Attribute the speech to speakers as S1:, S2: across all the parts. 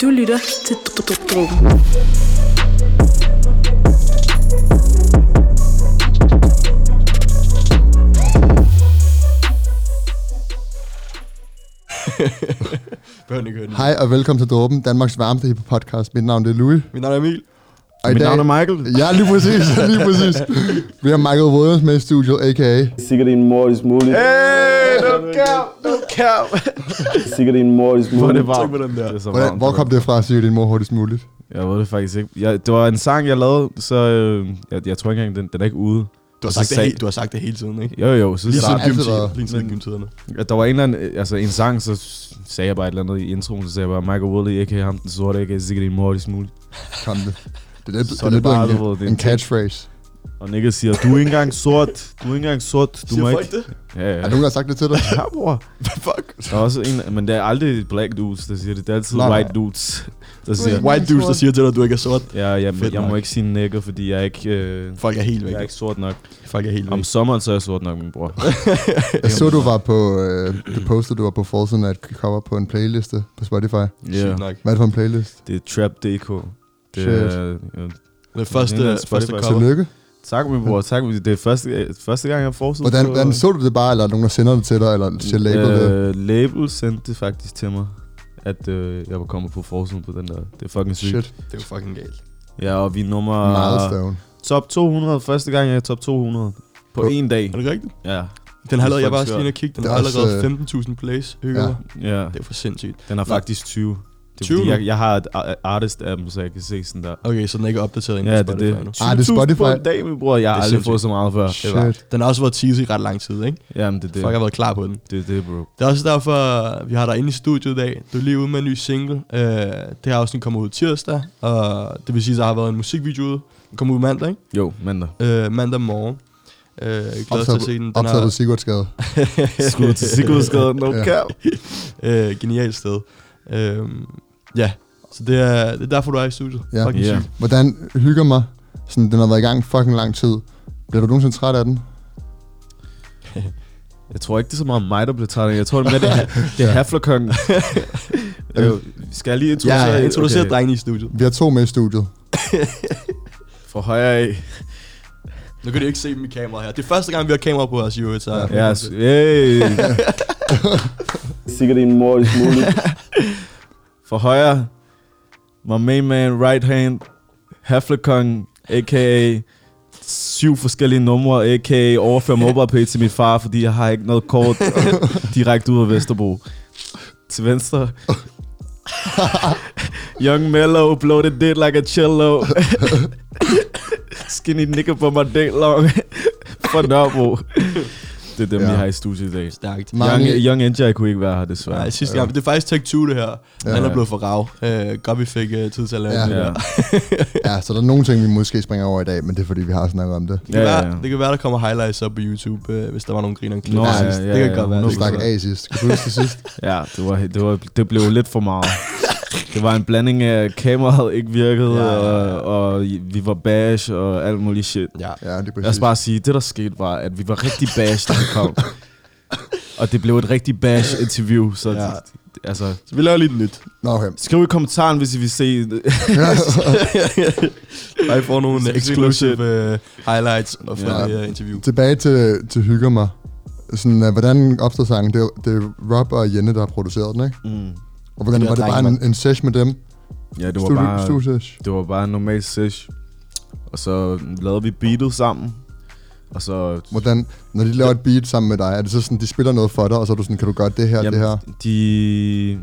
S1: Du lytter til Droppen.
S2: Behøver ikke høre det.
S3: Hej og velkommen til Dråben, Danmarks varmeste hiphop-podcast. Mit navn det er Louis.
S2: Mit navn er Emil.
S3: Og i
S4: Mit
S3: dag-
S4: navn er Michael.
S3: Ja, lige præcis. Lige præcis. Vi har Michael Williams med i studiet, a.k.a.
S5: Sikkert din mor er muligt.
S2: Hey, no cap, no cap.
S5: Sikkert din mor er
S4: Hvor er
S5: muligt.
S4: det varmt.
S2: Tryk på den der.
S4: Det er så
S3: Hvordan,
S4: varmt.
S3: hvor kom det fra, siger din mor hurtigst muligt?
S4: Jeg ved det faktisk ikke. Jeg, det var en sang, jeg lavede, så øh, jeg, jeg tror ikke engang, den, den er ikke ude.
S2: Du har,
S4: Så
S2: sagt det,
S4: sag-
S2: he- du har sagt det hele tiden, ikke?
S4: Jo, jo, så
S2: Lige siden
S4: startede
S3: altid
S2: gymtiden.
S3: været.
S2: Lige siden gymtiderne.
S4: At der var en eller anden, altså en sang, så s- sagde jeg bare et eller andet i introen, så sagde jeg bare, Michael Woolley, ikke ham den sorte, ikke sikkert din mor, det smule.
S3: Kom det. Det er lidt,
S4: Så
S3: det er
S4: er det
S3: lidt
S4: bare,
S3: en,
S4: du ved, det er
S3: en
S4: en-
S3: catchphrase.
S4: Og Nikke siger, du er ikke engang sort, du er ikke engang sort, du
S2: Siger
S4: må
S2: folk
S4: ikke.
S2: det?
S4: Ja,
S3: Er
S4: ja.
S3: der nogen, der har sagt det til dig?
S4: Ja, bror.
S2: Fuck.
S4: Der er også en, men det er aldrig black dudes, der siger det. Det er altid
S3: Nej, nej.
S4: white dudes, der siger,
S2: White dudes, der siger til dig, at du ikke er sort.
S4: ja, jeg,
S2: Fedt
S4: jeg må
S2: nok.
S4: ikke sige nigger, fordi jeg er ikke, øh,
S2: Folk er helt væk.
S4: jeg er ikke sort nok.
S2: Folk er helt væk.
S4: Om sommeren, så er jeg sort nok, min bror.
S3: Jeg så, du var på, øh, du postede, du var på Falsen at cover på en playliste på Spotify.
S4: Ja,
S2: Sygt nok.
S3: Hvad er det for en playlist?
S4: det er Trap.dk. Det
S3: Shit.
S4: er, ja.
S2: Det er første,
S4: Det er en
S2: første
S4: Spotify.
S2: cover.
S3: Tillykke.
S4: Tak, min bror. Tak. Det er første, første gang, jeg har forsøgt.
S3: Hvordan, hvordan så du det bare, eller er der nogen, der sender det til dig, eller siger label det?
S4: Øh, label sendte det faktisk til mig, at øh, jeg var kommet på forsiden på den der. Det er fucking sygt.
S3: Shit.
S2: Det er jo fucking galt.
S4: Ja, og vi er
S3: Meget
S4: nummer
S3: stone.
S4: top 200. Første gang, jeg er i top 200. På
S3: På-
S4: en dag.
S2: Er det rigtigt?
S4: Ja,
S2: Den har allerede, jeg var
S4: fucking
S2: også lige inde og kigge, den
S3: Det er
S2: har
S3: også,
S2: allerede
S3: øh,
S2: 15.000 plays. Højere.
S3: ja.
S4: ja.
S2: Det er for sindssygt.
S4: Den er faktisk 20. Det er
S2: 20
S4: fordi,
S2: nu?
S4: jeg, jeg har et a- artist af dem, så jeg kan se sådan der.
S2: Okay, så den er ikke opdateret endnu
S4: Ja,
S2: på
S4: det er
S2: Spotify
S4: det.
S2: endnu.
S4: 20.000
S3: Ah, det er Spotify.
S4: på en dag, min bror. Jeg har
S2: Det er
S4: aldrig fået så meget før.
S3: Shit.
S2: Den har også været teaset i ret lang tid, ikke?
S4: Jamen, det er det.
S2: Folk har været klar på den.
S4: Det er det, bro.
S2: Det er også derfor, vi har dig inde i studiet i dag. Du er lige ude med en ny single. Øh, det her afsnit kommer ud tirsdag, og det vil sige, at der har været en musikvideo ude. Den kommer ud mandag,
S4: Jo, mandag.
S2: ikke? Øh, mandag morgen. Øh, jeg glæder til at se den. den
S3: Optaget på Sigurdsgade.
S4: Skud til Sigurdsgade. No
S3: Ja.
S4: cap.
S2: har, øh, genialt sted. Øh, ja, så det er, det er derfor, du er i studiet.
S3: Ja.
S2: Fucking
S4: Ja.
S2: sygt.
S3: Hvordan hygger mig? Sådan, den har været i gang fucking lang tid. Bliver du nogensinde træt af den?
S4: Jeg tror ikke, det er så meget mig, der bliver træt af det. Jeg tror, det er, mere, det, er- det er Haflerkongen. Øh, skal jeg lige
S2: Ja,
S4: introducere?
S2: jeg introducerer
S4: Okay.
S2: okay. drengene i studiet.
S3: Vi har to med i studiet.
S4: Fra højre af.
S2: Nu kan du ikke se dem i kameraet her. Det er første gang, vi har kamera på os i øvrigt. Så.
S4: Ja, s- altså, hey.
S5: Sikkert din mor er muligt.
S4: Fra højre. My main man, right hand. Haflerkongen, a.k.a. syv forskellige numre, a.k.a. overfør MobilePay til min far, fordi jeg har ikke noget kort direkte ud af Vesterbro. Til venstre. Young Mellow, blow the dick like a cello. Skinny nigga på my dick long. For Nørrebro. Det er dem,
S3: Ja.
S4: ja. vi har i studiet i dag.
S2: Stærkt.
S3: Mange,
S4: Young, young NJ kunne ikke være her, desværre.
S2: Nej, sidste gang. Det er faktisk Tech 20, det her. Ja, Han er
S4: Ja.
S2: blevet for rav. Øh, godt, vi fik øh, tid til at lave
S3: Ja.
S2: ja. det.
S4: Ja.
S3: ja, så der er nogle ting, vi måske springer over i dag, men det er fordi, vi har snakket om det.
S2: Det kan,
S4: Ja,
S2: ja,
S4: ja,
S2: være,
S4: ja.
S2: det kan være, der kommer highlights op på YouTube, øh, hvis der var nogle griner klip.
S4: Nå,
S2: til
S4: ja,
S2: sidst.
S4: ja,
S2: det kan
S4: ja,
S2: godt være.
S3: Nu
S2: det kan
S3: snakker
S2: godt
S3: af sidst. Kan du huske det sidst?
S4: Ja, det var, det, var, det blev lidt for meget. Det var en blanding af, at kameraet ikke virkede,
S2: Ja,
S4: ja,
S2: ja, ja.
S4: Og, og vi var bash og alt muligt shit.
S2: være. Ja.
S3: Ja, det er
S4: Lad os
S3: præcis.
S4: bare sige, det der skete var, at vi var rigtig bash, da vi kom. og det blev et rigtig bash interview, så
S2: Ja.
S4: ja. altså,
S2: Så vi laver lige et nyt.
S3: Nå, okay.
S4: skriv i kommentaren, hvis I vil se
S2: Bare I får nogle
S4: Så
S2: exclusive øh, highlights og fra
S3: Ja.
S2: det her interview.
S3: Tilbage til, til Hygger mig. Sådan, uh, hvordan opstod sangen? Det, er- det er Rob og Jenne, der har produceret den, ikke?
S4: mm.
S3: Og hvordan
S2: Det er
S3: var det bare
S2: drenge,
S3: en, en sesh med dem?
S4: Ja, det var
S3: Studie,
S4: bare...
S3: studiesesh.
S4: Det var bare en normal sesh. Og så lavede vi beatet sammen. Og så...
S3: Hvordan, når de laver et beat sammen med dig, er det så sådan, de spiller noget for dig, og så er du sådan, kan du gøre det her, det her?
S4: de...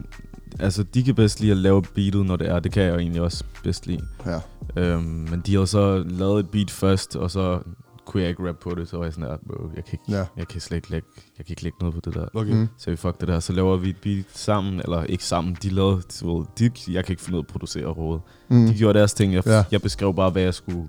S4: Altså, de kan bedst lide at lave beatet, når det er. Det kan jeg jo egentlig også bedst lide.
S3: Ja.
S4: Øhm, men de havde så lavet et beat først, og så kunne jeg ikke rap på det. Så var jeg sådan, "Ah, bro, jeg kan, ikke,
S3: Ja.
S4: jeg kan slet ikke lægge, jeg kan ikke lægge noget på det der.
S2: Okay.
S3: Mm.
S2: Mm.
S4: Så vi fuck det der, så laver vi et beat sammen, eller ikke sammen, de lavede, du ved, de, jeg kan ikke finde ud af at producere overhovedet.
S3: Mm.
S4: De gjorde deres ting, jeg,
S3: Ja.
S4: ja. jeg beskrev bare, hvad jeg skulle,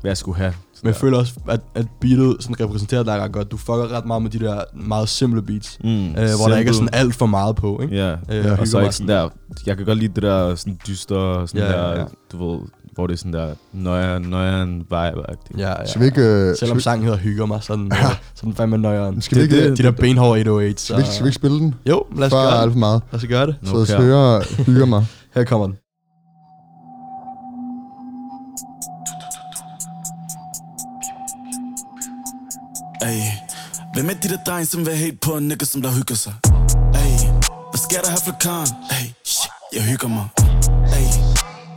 S4: hvad jeg skulle have. Så
S2: Men jeg føler også, at, at beatet sådan repræsenterer dig ret godt. Du fucker ret meget med de der meget simple beats, mm.
S4: mm,
S2: øh, hvor der ikke er
S4: simple.
S2: sådan alt for meget på, ikke?
S4: Ja,
S2: Øh,
S4: øh, og så
S2: hygger
S4: ikke
S2: mig.
S4: sådan der, jeg kan godt lide det der sådan dyster, sådan
S2: Ja, ja,
S4: ja, der,
S2: ja.
S4: du ved, hvor det er sådan der nøjeren, nøjeren vibe -agtigt.
S2: Ja, ja.
S3: Skal vi ikke... øh, skal
S2: Selvom
S3: vi-
S2: sangen hedder Hygger mig, sådan, øh, sådan fandme nøjeren.
S3: Skal vi
S4: Det-
S3: ikke,
S4: det-
S2: De der benhårde 808, så...
S3: skal vi, ikke- skal vi ikke spille den?
S2: Jo, lad os
S3: For
S2: gøre det.
S3: alt for meget.
S2: Lad os gøre det.
S4: Nu
S3: Så lad os
S4: kan-
S3: høre Hygger mig.
S2: Her kommer den.
S6: Ay, hvem er de der dreng, som vil hate på en nigga, som der hygger sig? Ay, hvad sker der her for karen? Ay, shit, jeg hygger mig. Ay,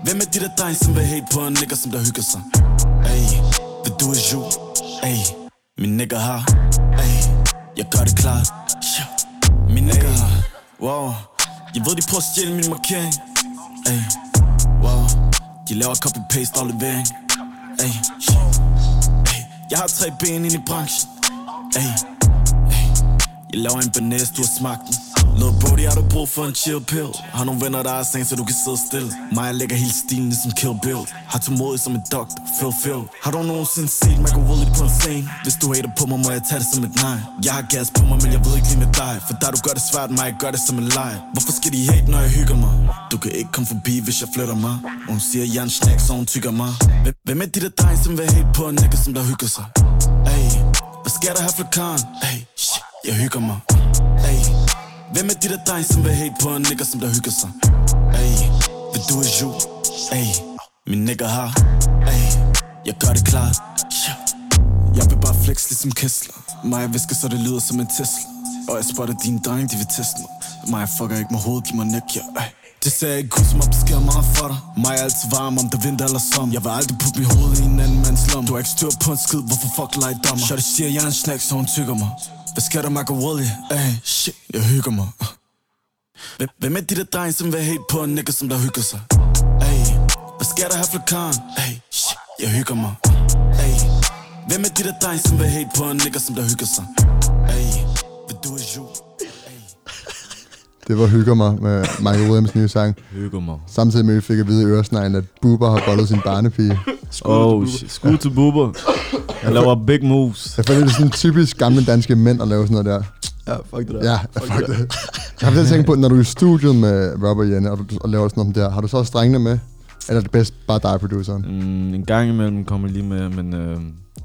S6: hvem er de der dreng, som vil hate på en nigga, som der hygger sig? Ay, vil du er you? Ay, min nigga har. Ay, jeg gør det klart. Ja, Min nigga har. Wow, jeg ved de prøver at stjæle min markering. Ay, wow, de laver copy-paste aflevering. Ay, shit. Ey, Jeg har tre ben ind i branchen Ey, ey, Jeg laver en banæs, du har smagt den Lil Brody, har du brug for en chill pill? Har nogle venner, der er sent, så du kan sidde stille Mig jeg lægger hele stilen ligesom Kill Bill Har tålmodighed som en doktor, Phil Phil Har du nogensinde set Michael Woolley på en scene? Hvis du hater på mig, må jeg tage det som et nej Jeg har gas på mig, men jeg ved ikke lige med dig For der du gør det svært, mig jeg gør det som en leg Hvorfor skal de hate, når jeg hygger mig? Du kan ikke komme forbi, hvis jeg flytter mig Og hun siger, jeg er en snack, så hun tykker mig Hvem- Hvem er de der dreng, som vil hate på en nigga, som der hygger sig? Ey, hvad sker der her for karen? Ey, shit, jeg hygger mig Ey, hvem er de der dreng, som vil hate på en nigga, som der hygger sig? Ey, vil du er you? Ey, min nigga har Ey, jeg gør det klart yeah. Jeg vil bare flex ligesom Kessler Mig jeg visker, så det lyder som en Tesla Og jeg spotter dine drenge, de vil teste mig Mig jeg fucker ikke med hovedet, giv mig næk, ja ey. Det sagde jeg ikke, gud, som op, det sker meget for dig Mig er altid varm, om det er vinter eller sommer Jeg vil aldrig putte mit hoved i en anden mands lom Du har ikke styr på en skid, hvorfor fuck lege dommer Shorty siger, jeg er en snack, så hun tykker mig Hvad sker der, Michael Woolley? Ey, shit, jeg hygger mig Hvem- Hvem er de der dreng, som vil hate på en nigga, som der hygger sig? Ey, hvad sker der her for karen? Ey, shit, jeg hygger mig Ey, hvem er de der dreng, som vil hate på en nigga, som der hygger sig? Ey, vil du er you?
S3: Det var Hygger mig med Michael Williams nye sang.
S4: Hygger mig.
S3: Samtidig med, at vi fik at vide i øresneglen, at Bubber har bollet sin barnepige.
S4: Oh, shit. skud til buber. Jeg laver big moves.
S3: Jeg føler, det er sådan typisk gamle danske mænd at lave sådan noget der.
S2: Ja, fuck det der.
S3: Ja, fuck det. Jeg har selv tænkt på, når du er i studiet med Rob og Jenny, og, du, og laver sådan noget der, har du så også drengene med? Eller er det bedst bare dig, produceren?
S4: Mm, en gang imellem kommer jeg lige med, men øh,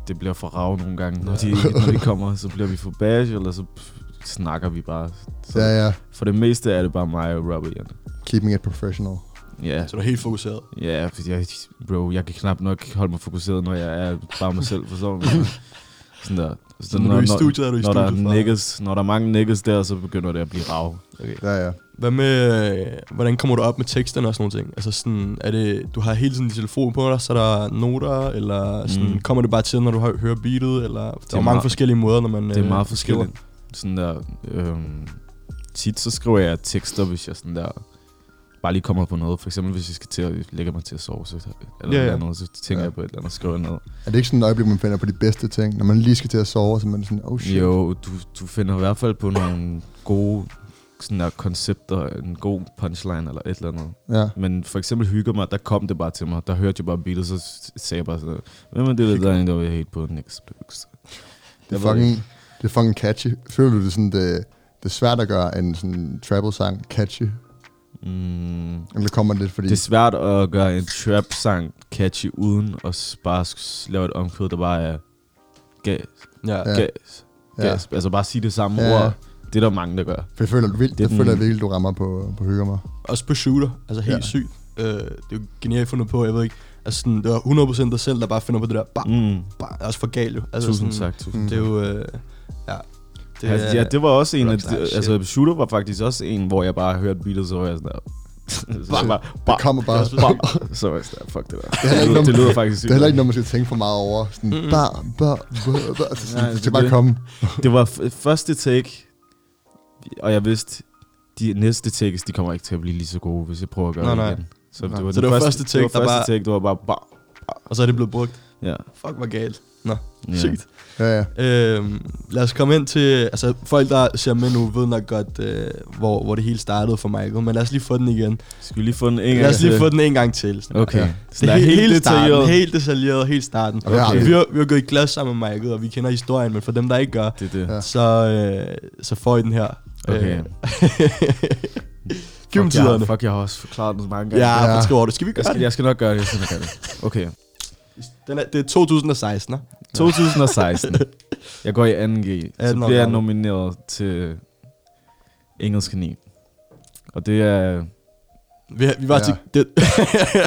S4: det bliver for rav nogle gange. Når de, når de kommer, så bliver vi for bash, eller så pff, snakker vi bare. Så
S3: Ja, ja.
S4: For det meste er det bare mig og Robert Jan.
S3: Keeping it professional.
S4: Ja,
S2: Så du er helt fokuseret.
S4: ja, fordi jeg, bro, jeg kan knap nok holde mig fokuseret, når jeg er bare mig selv, forstår du? Sådan der. Så
S2: Når du er i studiet, er du i
S4: når der
S2: studiet,
S4: er
S2: far.
S4: niggas, når der er mange niggas der, så begynder det at blive rav.
S3: Ja, ja.
S2: Hvad med, øh, hvordan kommer du op med teksterne og sådan nogle ting? Altså sådan, er det, du har hele tiden din telefon på dig, så er der noter, eller sådan,
S4: Mm.
S2: mm. kommer det bare til, når du hø- hører beatet, eller? Der er, mange
S4: meget-
S2: forskellige måder, når man
S4: Det er
S2: øh,
S4: meget
S2: skriver.
S4: forskelligt. Sådan der, øhm, tit så skriver jeg tekster, hvis jeg sådan der bare lige kommer på noget. For eksempel hvis jeg skal til at lægge mig til at sove, så, eller
S2: Ja,
S4: ja,
S2: ja.
S4: ja. Noget, så tænker
S3: Ja.
S4: ja. jeg på et eller andet og skriver noget.
S3: Er det ikke sådan et øjeblik, man finder på de bedste ting? Når man lige skal til at sove, så er man sådan, oh shit.
S4: Jo, du, du finder i hvert fald på nogle gode sådan der, koncepter, en god punchline eller et eller andet.
S3: Ja.
S4: Men for eksempel hygger mig, der kom det bare til mig. Der hørte jeg bare beatet, så s- sagde jeg bare sådan, hvem er det, der er der vil hate på Nix Blues?
S3: Det er fucking, det er fucking catchy. Føler du det sådan, det, det er svært at gøre en sådan travel-sang catchy?
S4: Mm,
S3: Eller kommer det lidt, fordi...
S4: Det er svært at gøre en trap-sang catchy, uden at s- bare s- lave et omkvæd, der bare er gas,
S2: Ja.
S3: Ja.
S2: ja.
S4: gas,
S3: ja.
S4: gas. Altså bare sige det samme
S3: Ja.
S4: ja. ord. Det er der mange, der gør.
S3: For jeg føler, vildt,
S4: Det
S3: det,
S4: er den-
S3: føler jeg virkelig, du rammer på, på hygger mig.
S2: Også på shooter, altså helt
S3: Ja.
S2: ja. sygt. Øh, det er jo genialt fundet på, jeg ved ikke. Altså sådan, det var 100% dig selv, der bare finder på det der, bare,
S3: Ah.
S4: Mm.
S2: bare, også for galt jo. Altså,
S4: Altså tusind
S2: sådan,
S4: tak, tusind
S3: Mm.
S2: Det er jo, øh, ja.
S4: det, altså, ja, det var også en af
S2: rockstar
S4: de,
S2: shit.
S4: Altså Shooter var faktisk også en, hvor jeg bare hørte beatet, så var jeg sådan der... så
S3: Bare-
S4: bare,
S3: Det kommer bare...
S4: bare, bare, så var jeg sådan der, fuck det der.
S3: heller
S4: Det,
S3: ikke
S4: lyder- det
S3: nogen-
S4: lyder faktisk
S3: Det
S4: sygt.
S3: er heller ikke noget, man skal tænke for meget over. Sådan,
S2: Mm-mm.
S3: bar, bar, bar, bar. Så Altså, sådan,
S4: Nej,
S3: det
S4: det
S3: skal
S4: er
S3: bare
S4: det.
S3: komme.
S4: Det var f- første take, og jeg vidste, de næste takes, de kommer ikke til at blive lige så gode, hvis jeg prøver at gøre
S2: Nej,
S4: det
S2: nej.
S4: igen. Så
S2: Nej.
S4: det var,
S2: Så
S4: den
S2: det var første take,
S4: det var
S2: der
S4: første
S2: bare-
S4: take, det var bare bare.
S2: Og så er det blevet brugt.
S4: Ja.
S2: Fuck, hvor galt. Nå,
S4: ja.
S2: yeah. sygt.
S3: Ja, ja.
S2: Øhm, lad os komme ind til... Altså, folk, der ser med nu, ved nok godt, øh, hvor, hvor det hele startede for Michael. Men lad os lige få den igen.
S4: Skal vi lige få den en gang
S2: Lad os lige
S4: til?
S2: få den en gang til. Sådan.
S4: Okay.
S3: Ja.
S4: Ja.
S2: Det er helt, helt starten, helt detaljeret, helt starten.
S3: Og det har
S2: Okay.
S3: vi.
S2: Vi, har, vi har gået i klasse sammen med Michael, og vi kender historien, men for dem, der ikke gør,
S4: Det er det.
S3: Ja.
S2: så, øh, så får I den her.
S4: Okay.
S2: Øh, Giv dem
S4: Fuck, jeg,
S2: Øh. tiderne.
S4: fuck, jeg har også forklaret den så mange gange.
S2: Ja,
S3: Ja.
S2: man skal over det. Skal vi
S4: Jeg
S2: gøre
S4: skal,
S2: det?
S4: jeg skal nok gøre det, sådan jeg gør det. Okay.
S2: Den er, det er 2016, ne?
S4: 2016. Jeg går i 2G. Så
S2: Anden år
S4: bliver jeg
S2: gammel.
S4: nomineret til Engelsk Kanin. Og det er...
S2: Vi, vi var
S3: Ja.
S2: ja. til...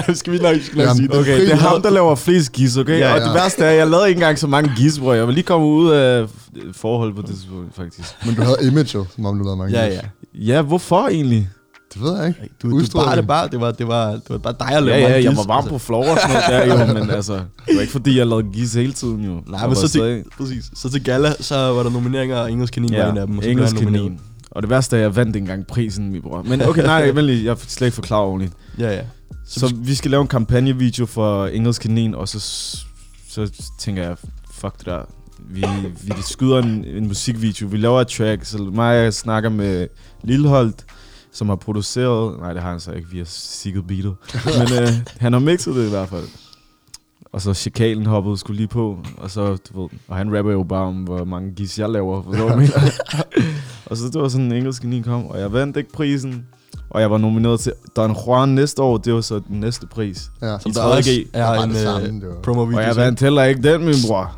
S2: Det, skal vi nok, skal nok
S3: Jamen,
S2: sige det?
S4: Okay, det er ham, der laver flest gis, okay?
S2: Ja,
S4: Ja, ja. Og
S3: ja.
S4: det værste er, at jeg lavede ikke engang så mange gis, bror. Jeg var lige kommet ud af forhold på det tidspunkt, faktisk.
S3: Men du havde image jo, som om du lavede mange
S2: Ja,
S3: gifs.
S2: ja.
S4: Ja, hvorfor egentlig?
S3: Det ved jeg ikke.
S2: Du, du
S3: Udstråling.
S2: bare det bare. Det var, det var, det var bare dig, der
S4: Ja,
S2: lavede
S4: ja,
S2: mange
S4: jeg
S2: gis, altså.
S4: var varm på floor og sådan noget der, jo, men altså, det var ikke fordi, jeg lavede gis hele tiden, jo.
S2: Nej,
S4: Jeg
S2: men
S4: var
S2: så
S4: stadig-
S2: til, præcis. så til gala, så var der nomineringer, og Engelsk Kanin ja, var en af dem. Og så blev
S4: engelsk
S2: jeg nomineret.
S4: kanin. Og det værste er, at jeg vandt ikke engang prisen, min bror. Men okay, nej, vent lige, jeg fik slet ikke forklare ordentligt.
S2: Ja, ja. Så,
S4: Så vi skal lave en kampagnevideo for engelsk kanin, og så, så tænker jeg, fuck det der. Vi, vi skyder en, en musikvideo, vi laver et track, så mig og jeg snakker med Lilleholdt, som har produceret, nej det har han så ikke, vi har sikket beatet, men øh, han har mixet det i hvert fald. Og så chakalen hoppede skulle lige på, og så, du ved, og han rapper jo bare om, hvor mange gis jeg laver, forstår du, hvad jeg mener? og så det var sådan, en engelsk kanin kom, og jeg vandt ikke prisen, og jeg var nomineret til Don Juan næste år, det var så den næste pris.
S3: Ja.
S2: som
S4: i
S2: der
S4: 3.G.
S2: også er
S3: Det var
S2: en
S3: det samme, det var.
S2: øh, promo-video.
S4: Og jeg
S2: til.
S4: vandt heller ikke den, min bror.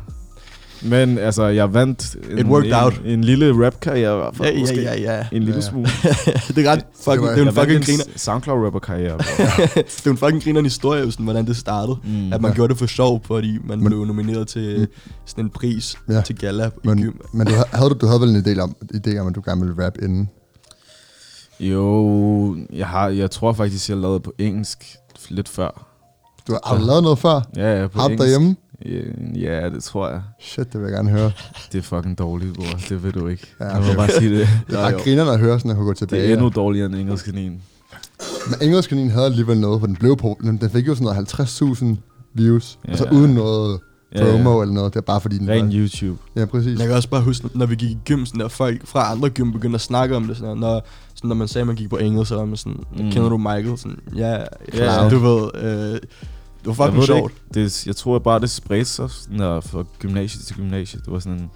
S4: Men altså, jeg vandt en,
S2: It worked
S4: en,
S2: out.
S4: en lille rap-karriere i hvert
S2: Ja,
S4: fald,
S2: ja,
S4: måske.
S2: ja, ja.
S4: En lille
S3: Ja, ja.
S4: smule.
S2: det er ret fucking,
S3: var-
S2: det er
S4: Jeg
S2: en fucking
S4: vandt
S2: griner.
S4: en SoundCloud-rapper-karriere. bror.
S2: Det er en fucking grineren historie, sådan, hvordan det startede.
S4: Mm.
S2: Mm, at man
S3: Ja.
S2: ja. gjorde det for sjov, fordi man
S3: Men-
S2: men, blev nomineret til sådan en pris
S3: Ja.
S2: ja. til gala
S3: Men,
S2: i gym.
S3: men du, havde- havde, du, du havde vel en idé om, idé om, at du gerne ville rap inden?
S4: Jo, jeg, har, jeg tror faktisk, jeg lavede på engelsk lidt før.
S3: Du har, har du lavet noget før?
S4: Ja, ja, på
S3: Har du
S4: engelsk.
S3: derhjemme?
S4: Ja, Ja, det tror jeg.
S3: Shit, det vil jeg gerne høre.
S4: Det er fucking dårligt, bror. Det ved du ikke.
S3: Ja,
S4: Ja, okay. Jeg
S3: okay.
S4: må bare sige det.
S3: Det er bare grinerne at høre, sådan at kunne gå tilbage.
S4: Det er endnu dårligere end engelsk kanin.
S3: Men engelsk kanin havde alligevel noget, for den blev på, den, den fik jo sådan noget 50.000 views. Ja. Altså
S4: Ja.
S3: uden noget
S4: Ja,
S3: promo
S4: ja.
S3: eller noget. Det er bare fordi den
S4: Ren
S3: var-
S4: YouTube.
S3: Ja, præcis.
S2: Men Jeg kan også bare huske, når vi gik i gym, sådan der, folk fra andre gym begyndte at snakke om det. Sådan der, når, sådan, når man sagde, at man gik på engelsk, så var man sådan,
S4: Mm.
S2: mm. kender du Michael? Sådan, ja,
S4: Ja.
S2: ja, du ved, øh, det var
S4: Jeg ved
S2: fucking
S4: det
S2: sjovt.
S4: ikke. Det, jeg tror bare, det spredte sig sådan der, fra gymnasiet til gymnasiet. Det var sådan en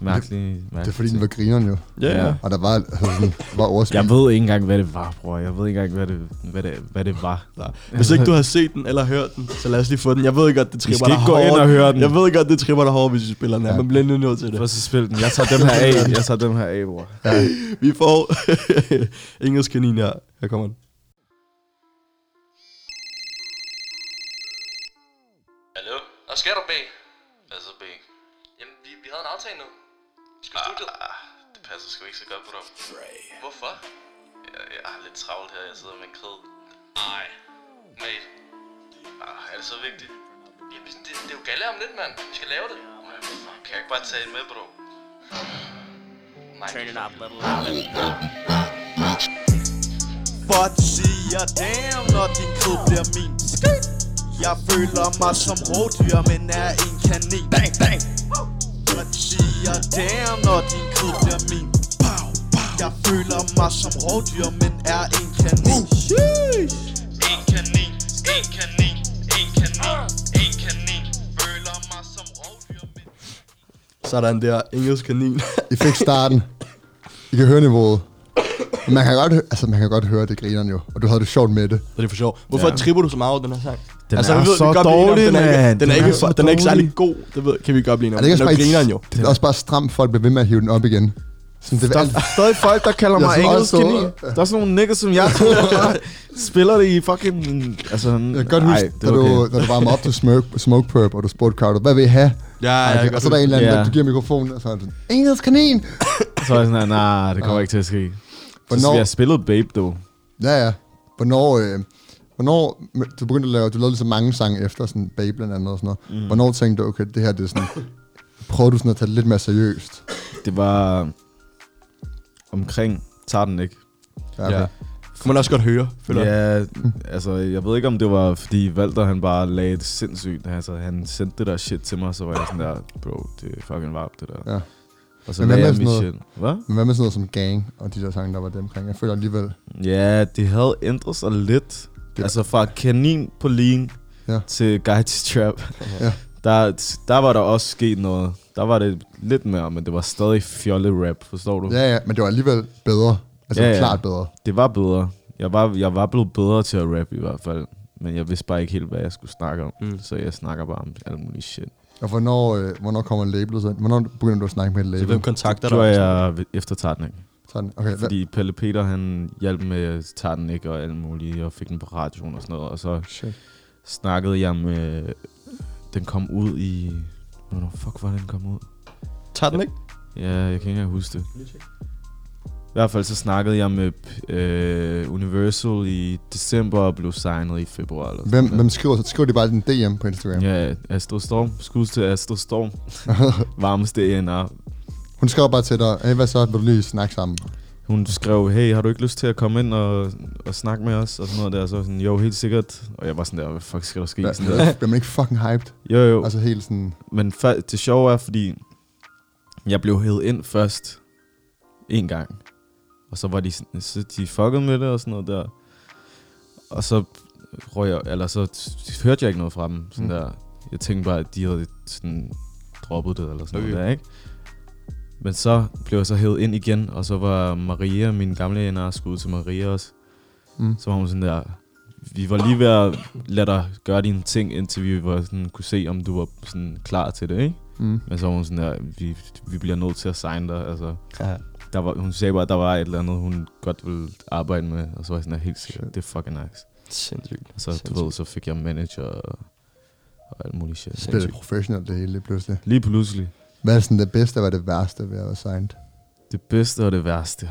S4: mærkelig... mærkelig
S3: Det er fordi, den
S4: ting.
S3: var grineren jo.
S2: Ja, ja.
S3: Og der var, altså, sådan, var overskud.
S4: Jeg ved ikke engang, hvad det var, bror. Jeg ved ikke engang, hvad det, hvad det, hvad det var.
S2: Nej. Hvis ikke du har set den eller hørt den, så lad os lige få den. Jeg ved godt, det
S4: Vi
S2: tripper
S4: skal
S2: dig
S4: ikke gå ind
S2: hårdt.
S4: og høre den.
S2: Jeg ved godt, det tripper dig hårdt, hvis vi spiller den her.
S3: Ja.
S2: Ja. Man bliver lige nødt til det.
S4: Først så spil den. Jeg tager dem her af. Jeg tager dem her af, bror.
S3: Ja.
S2: Vi får engelsk kanin her. Her kommer den.
S7: Hallo? Hvad sker der, B? Hvad så, B? Jamen, vi, vi havde en aftale nu. Vi Skal ah, studiet? Ah, det passer sgu ikke så godt på dig. Hvorfor? Jeg, jeg har lidt travlt her. Jeg sidder med en kred. Nej. Mate. Ah, er det så vigtigt? Jamen, det, det er jo gale om lidt, mand. Vi skal lave det. Kan jeg ikke bare tage det med, bro? Nej. Turn it up, little
S8: Bot siger damn, når din kød bliver min Skyt. Jeg føler mig som rådyr, men er en kanin Bang, bang Bot siger damn, når din kød bliver min Pow, pow. Jeg føler mig som rådyr, men er en kanin En kanin, en kanin, en kanin, en kanin Føler mig som rådyr, men
S2: Så er der en der engelsk kanin.
S3: I fik starten. I kan høre niveauet. Men Man kan godt, hø- altså, man kan godt høre, det grineren jo. Og du havde det sjovt med det.
S2: Så det er for sjov. Hvorfor
S4: Ja.
S2: ja. tripper du så meget over den her sang? Altså,
S4: Den er så
S2: vi er enige om,
S4: dårlig,
S2: den er ikke,
S4: mand.
S2: den, er
S4: Den
S2: ikke,
S4: er
S2: for,
S4: så
S2: den er ikke
S4: dårlig.
S2: særlig god. Det ved, kan vi godt blive enige
S3: Er
S2: om.
S3: det ikke
S2: Den
S3: også
S2: er jo
S3: bare,
S2: grineren jo.
S3: Det er også bare stramt, folk bliver ved med at hive den op igen. Sådan, det, er
S4: Der
S3: alt,
S4: er stadig folk, der kalder
S3: altså- Jeg
S4: mig
S3: synes
S4: engelsk
S3: også,
S4: kanin.
S3: så-
S4: Der er sådan nogle nigger, som jeg tror, der spiller det i fucking... Altså,
S3: jeg kan godt huske,
S4: det
S3: da
S4: er
S3: du,
S4: okay.
S3: da du varmede op til smoke, smoke Purp, og du spurgte Carter, hvad vil I have?
S2: Ja, ja,
S3: og,
S2: jeg
S3: og så er der en eller anden,
S4: Ja.
S3: der, du giver mikrofonen, og så er han sådan, engelsk kanin!
S4: Så var jeg sådan, nej, nah, det kommer ikke til at ske. Så
S3: Ah. Hvornår-
S4: skal jeg spillet Babe, dog.
S3: Ja, ja. Hvornår, øh, hvornår men du begyndte at lave, du lavede lige så mange sange efter, sådan Babe blandt andet og sådan noget.
S2: Mhm.
S3: Mm. Hvornår tænkte du, okay, det her, det er sådan, prøver du sådan at tage det lidt mere seriøst?
S4: Det var omkring, tager den ikke.
S3: Ja,
S2: Ja.
S3: okay.
S2: Kan man også godt høre, føler jeg.
S4: Ja, altså jeg ved ikke om det var, fordi Walter han bare lagde et sindssygt, altså han sendte det der shit til mig, så var jeg sådan der, bro, det er fucking varmt det der.
S3: Ja.
S4: Og så
S3: Men hvad
S4: lagde jeg
S3: med
S4: mit
S3: sådan
S4: shit. Hvad?
S3: Men hvad med sådan noget som Gang og de der sange, der var dem omkring? Jeg føler alligevel,
S4: Ja, det havde ændret sig lidt.
S3: Det-
S4: Det. Altså fra kanin på lean
S3: Ja.
S4: ja. til guide to trap.
S3: Ja.
S4: Der, der var der også sket noget. Der var det lidt mere, men det var stadig fjolle rap, forstår du?
S2: Uh.
S3: ja, ja, men det var alligevel bedre. Altså
S4: Ja, ja.
S3: klart bedre.
S4: Det var bedre. Jeg var, jeg var blevet bedre til at rappe i hvert fald, men jeg vidste bare ikke helt, hvad jeg skulle snakke om.
S2: Mm.
S4: Mm. Så jeg snakker bare om alt muligt shit.
S3: Og hvornår, øh, hvornår kommer labelet så? Hvornår begynder du at snakke med et
S2: Så
S3: label?
S2: hvem kontakter
S4: Der
S2: dig?
S4: tror jeg ved eftertartning.
S3: Sådan, okay, hvad,
S4: Fordi Pelle Peter, han hjalp med tartnik og alt muligt, og fik den på radioen og sådan noget. Og så
S3: shit.
S4: snakkede jeg med... Den kom ud i... Hvornår fuck var det, den kom ud?
S2: Tager den ikke?
S4: Ja, jeg kan ikke engang huske det. I hvert fald så snakkede jeg med øh, Universal i december og blev signet i februar. Eller sådan
S3: Hvem,
S4: noget.
S3: hvem skriver, så skriver de bare din DM på Instagram. Yeah.
S4: Ja, Astro Storm. Skud til Astro Storm. Varmeste ENR.
S3: Hun skriver bare til dig, hey, hvad så, vil du lige snakke sammen?
S4: Hun skrev, hey, har du ikke lyst til at komme ind og, og snakke med os? Og sådan noget der. Så var jeg sådan, jo, helt sikkert. Og jeg var sådan der, hvad fuck skal der ske?
S3: Hva-
S4: Sådan der.
S3: hva- Bliver man ikke fucking hyped?
S4: Jo, jo.
S3: Altså helt sådan,
S4: Men fa- det sjove er, fordi jeg blev hævet ind først en gang. Og så var de, sådan- så de fuckede med det og sådan noget der. Og så røg jeg, eller så t- hørte jeg ikke noget fra dem. Sådan
S3: Mm.
S4: mm. der. Jeg tænkte bare, at de havde sådan droppet det eller sådan okay.
S2: Okay.
S4: noget der, ikke? Men så blev jeg så hævet ind igen, og så var Maria, min gamle NR, skud til Maria også.
S3: Mm.
S4: Mm. Så var hun sådan der, vi var lige ved at lade dig gøre dine ting, indtil vi var sådan, kunne se, om du var sådan klar til det, ikke?
S3: mm,
S4: Men så var hun sådan der, vi, vi bliver nødt til at signe dig. Altså,
S2: Ja.
S4: der var, hun sagde bare, at der var et eller andet, hun godt ville arbejde med. Og så var jeg sådan der, helt sikkert,
S3: Shit.
S4: det er fucking nice.
S2: Sindssygt.
S4: Og så, du ved, så fik jeg manager og, og alt muligt shit.
S3: det er lidt professionelt det hele lige pludselig.
S4: Lige pludselig,
S3: Hvad er sådan det bedste, og hvad er det værste ved at være signed?
S4: det bedste og det værste.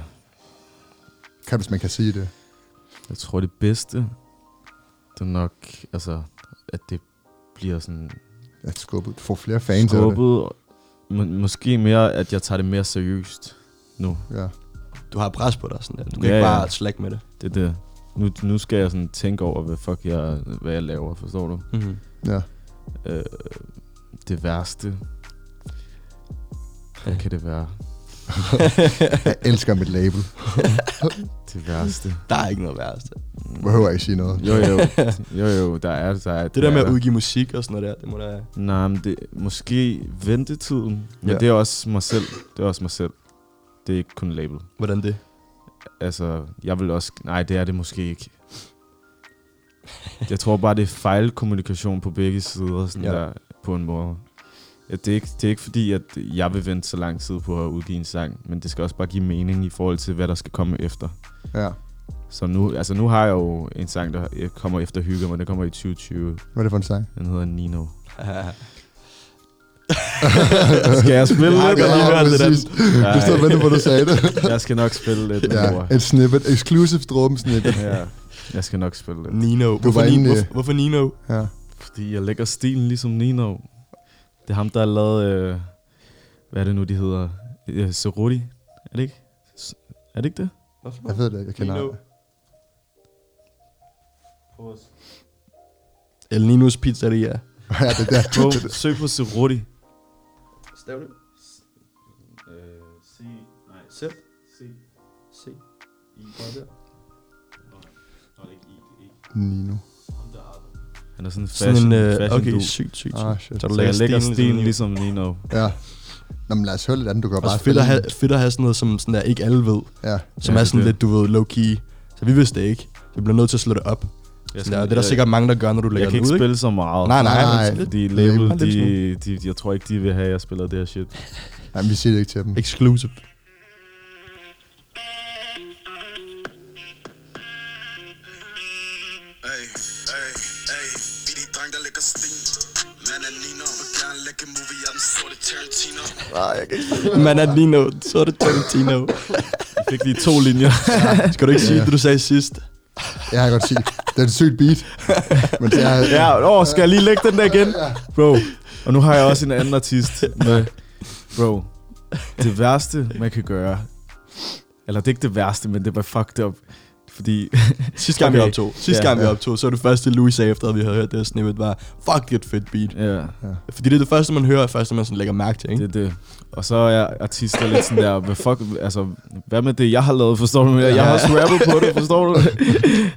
S3: Kan, hvis man kan sige det.
S4: Jeg tror, det bedste, det er nok, altså, at det bliver sådan
S3: At skubbe, du får flere fans af det.
S4: skubbet. Må, måske mere, at jeg tager det mere seriøst nu.
S3: Ja.
S2: Du har pres på dig sådan der. Du kan
S4: Ja,
S2: ja, ikke
S4: ja.
S2: bare slække med det.
S4: Det er det. Nu, nu skal jeg sådan tænke over, hvad fuck jeg, hvad jeg laver, forstår du?
S2: Mm-hmm.
S3: ja.
S4: Øh, det værste. Hvad kan det være?
S3: Jeg elsker mit label.
S4: Det værste.
S2: Der er ikke noget værste.
S3: Behøver ikke sige noget.
S4: Jo, jo. Jo, jo, der er der. Er,
S2: Det der med
S4: er
S2: at udgive musik og sådan noget der, det må da...
S4: Nej, men det, måske ventetiden. Men
S3: Ja.
S4: ja. det er også mig selv. Det er også mig selv. Det er ikke kun label.
S2: Hvordan det?
S4: Altså, jeg vil også... Nej, det er det måske ikke. Jeg tror bare, det er fejlkommunikation på begge sider, sådan
S2: Ja.
S4: ja. der, på en måde. Ja, det, er ikke, det er ikke fordi, at jeg vil vente så lang tid på at udgive en sang, men det skal også bare give mening i forhold til, hvad der skal komme efter.
S3: Ja.
S4: Så nu, altså nu har jeg jo en sang, der øh, kommer efter Hygge, men den kommer i 2020.
S3: Hvad er det for en sang?
S4: Den hedder Nino.
S2: Altså, Skal jeg spille
S3: Ja,
S2: lidt? Jeg har lige hørt det der.
S3: præcis. Du stod og ventede på, at du sagde det.
S4: Jeg skal nok spille lidt
S3: ja,
S4: ja. over.
S3: et snippet. Exclusive dråben snippet.
S4: Ja. Jeg skal nok spille lidt.
S2: Nino. Hvorfor,
S3: var
S2: Ni-
S3: inde i-
S2: hvorfor, hvorfor Nino?
S3: Ja.
S4: Fordi jeg lægger stilen ligesom Nino. Det er ham, der har lavet... Øh, hvad er det nu, de hedder? Øh, Cerruti. Er det ikke? S- Er det ikke det?
S3: Jeg ved det ikke. Jeg kender
S2: Nino.
S3: det.
S2: El Ninos Pizzeria.
S3: Ja, det der.
S4: Bro, søg på Cerruti.
S2: Stav det.
S4: C... Nej,
S2: Z.
S4: C...
S2: C.
S4: I... Nej, ikke I.
S3: Nino.
S4: Han er sådan en
S2: Sådan
S4: fashion,
S2: en...
S4: sådan
S2: øh,
S4: fashion
S2: okay,
S4: okay.
S2: sygt, sygt,
S3: Ah,
S2: sygt.
S3: shit.
S2: Så du
S4: Så
S2: lægger
S4: jeg lægger
S2: stilen
S4: stilen
S2: ligesom...
S4: ligesom Nino.
S3: Ja. Nå, men lad os høre lidt andet. Du kan bare
S2: Også Altså, fedt at, have,
S3: spille.
S2: fedt at have sådan noget, som sådan der ikke alle ved.
S3: Ja.
S2: Som
S4: Ja,
S2: er
S4: det
S2: sådan
S4: er
S2: lidt, du ved, low-key. Så vi vidste det ikke. Vi bliver nødt til at slå det op.
S4: Jeg
S2: Sådan der, og det er der sikkert mange, der gør, når du
S4: jeg, jeg
S2: lægger det
S4: kan ikke
S2: ud, ikke?
S4: spille så meget.
S2: Nej, nej,
S3: Nej,
S2: nej.
S3: nej.
S4: Fordi
S2: Bare
S4: label,
S2: en lille
S4: de, de, jeg tror ikke, de vil have, at jeg spiller det her shit.
S3: Jamen, vi siger det ikke til dem.
S2: Exclusive.
S6: Hey, hey, hey, vi er de dreng, der lægger sten. Man er Nino, vil gerne lægge en movie, jeg er den sorte Tarantino.
S2: Man er Nino. Så er det Tarantino.
S4: Jeg fik lige to linjer.
S2: Skal du ikke sige
S3: Ja.
S2: det, du sagde sidst?
S3: Jeg kan godt sige, det er et sygt beat. Men det er,
S4: Ja, åh, skal jeg lige lægge den der igen? Bro, og nu har jeg også en anden artist med. Bro, det værste, man kan gøre... Eller det er ikke det værste, men det var fucked up. Fordi...
S2: Sidste gang okay. vi
S4: Okay.
S2: optog, sidste
S4: Ja.
S2: gang vi optog, så var det første Louis sagde efter, at vi havde hørt det her snippet, var, fuck, det er et fedt beat.
S4: ja,
S2: Fordi det er det første, man hører, og første, man sådan lægger mærke til, ikke?
S4: det er det. Og så er artister lidt sådan der, hvad fuck, altså, hvad med det, jeg har lavet, forstår du? Jeg har også rappet på det, forstår du?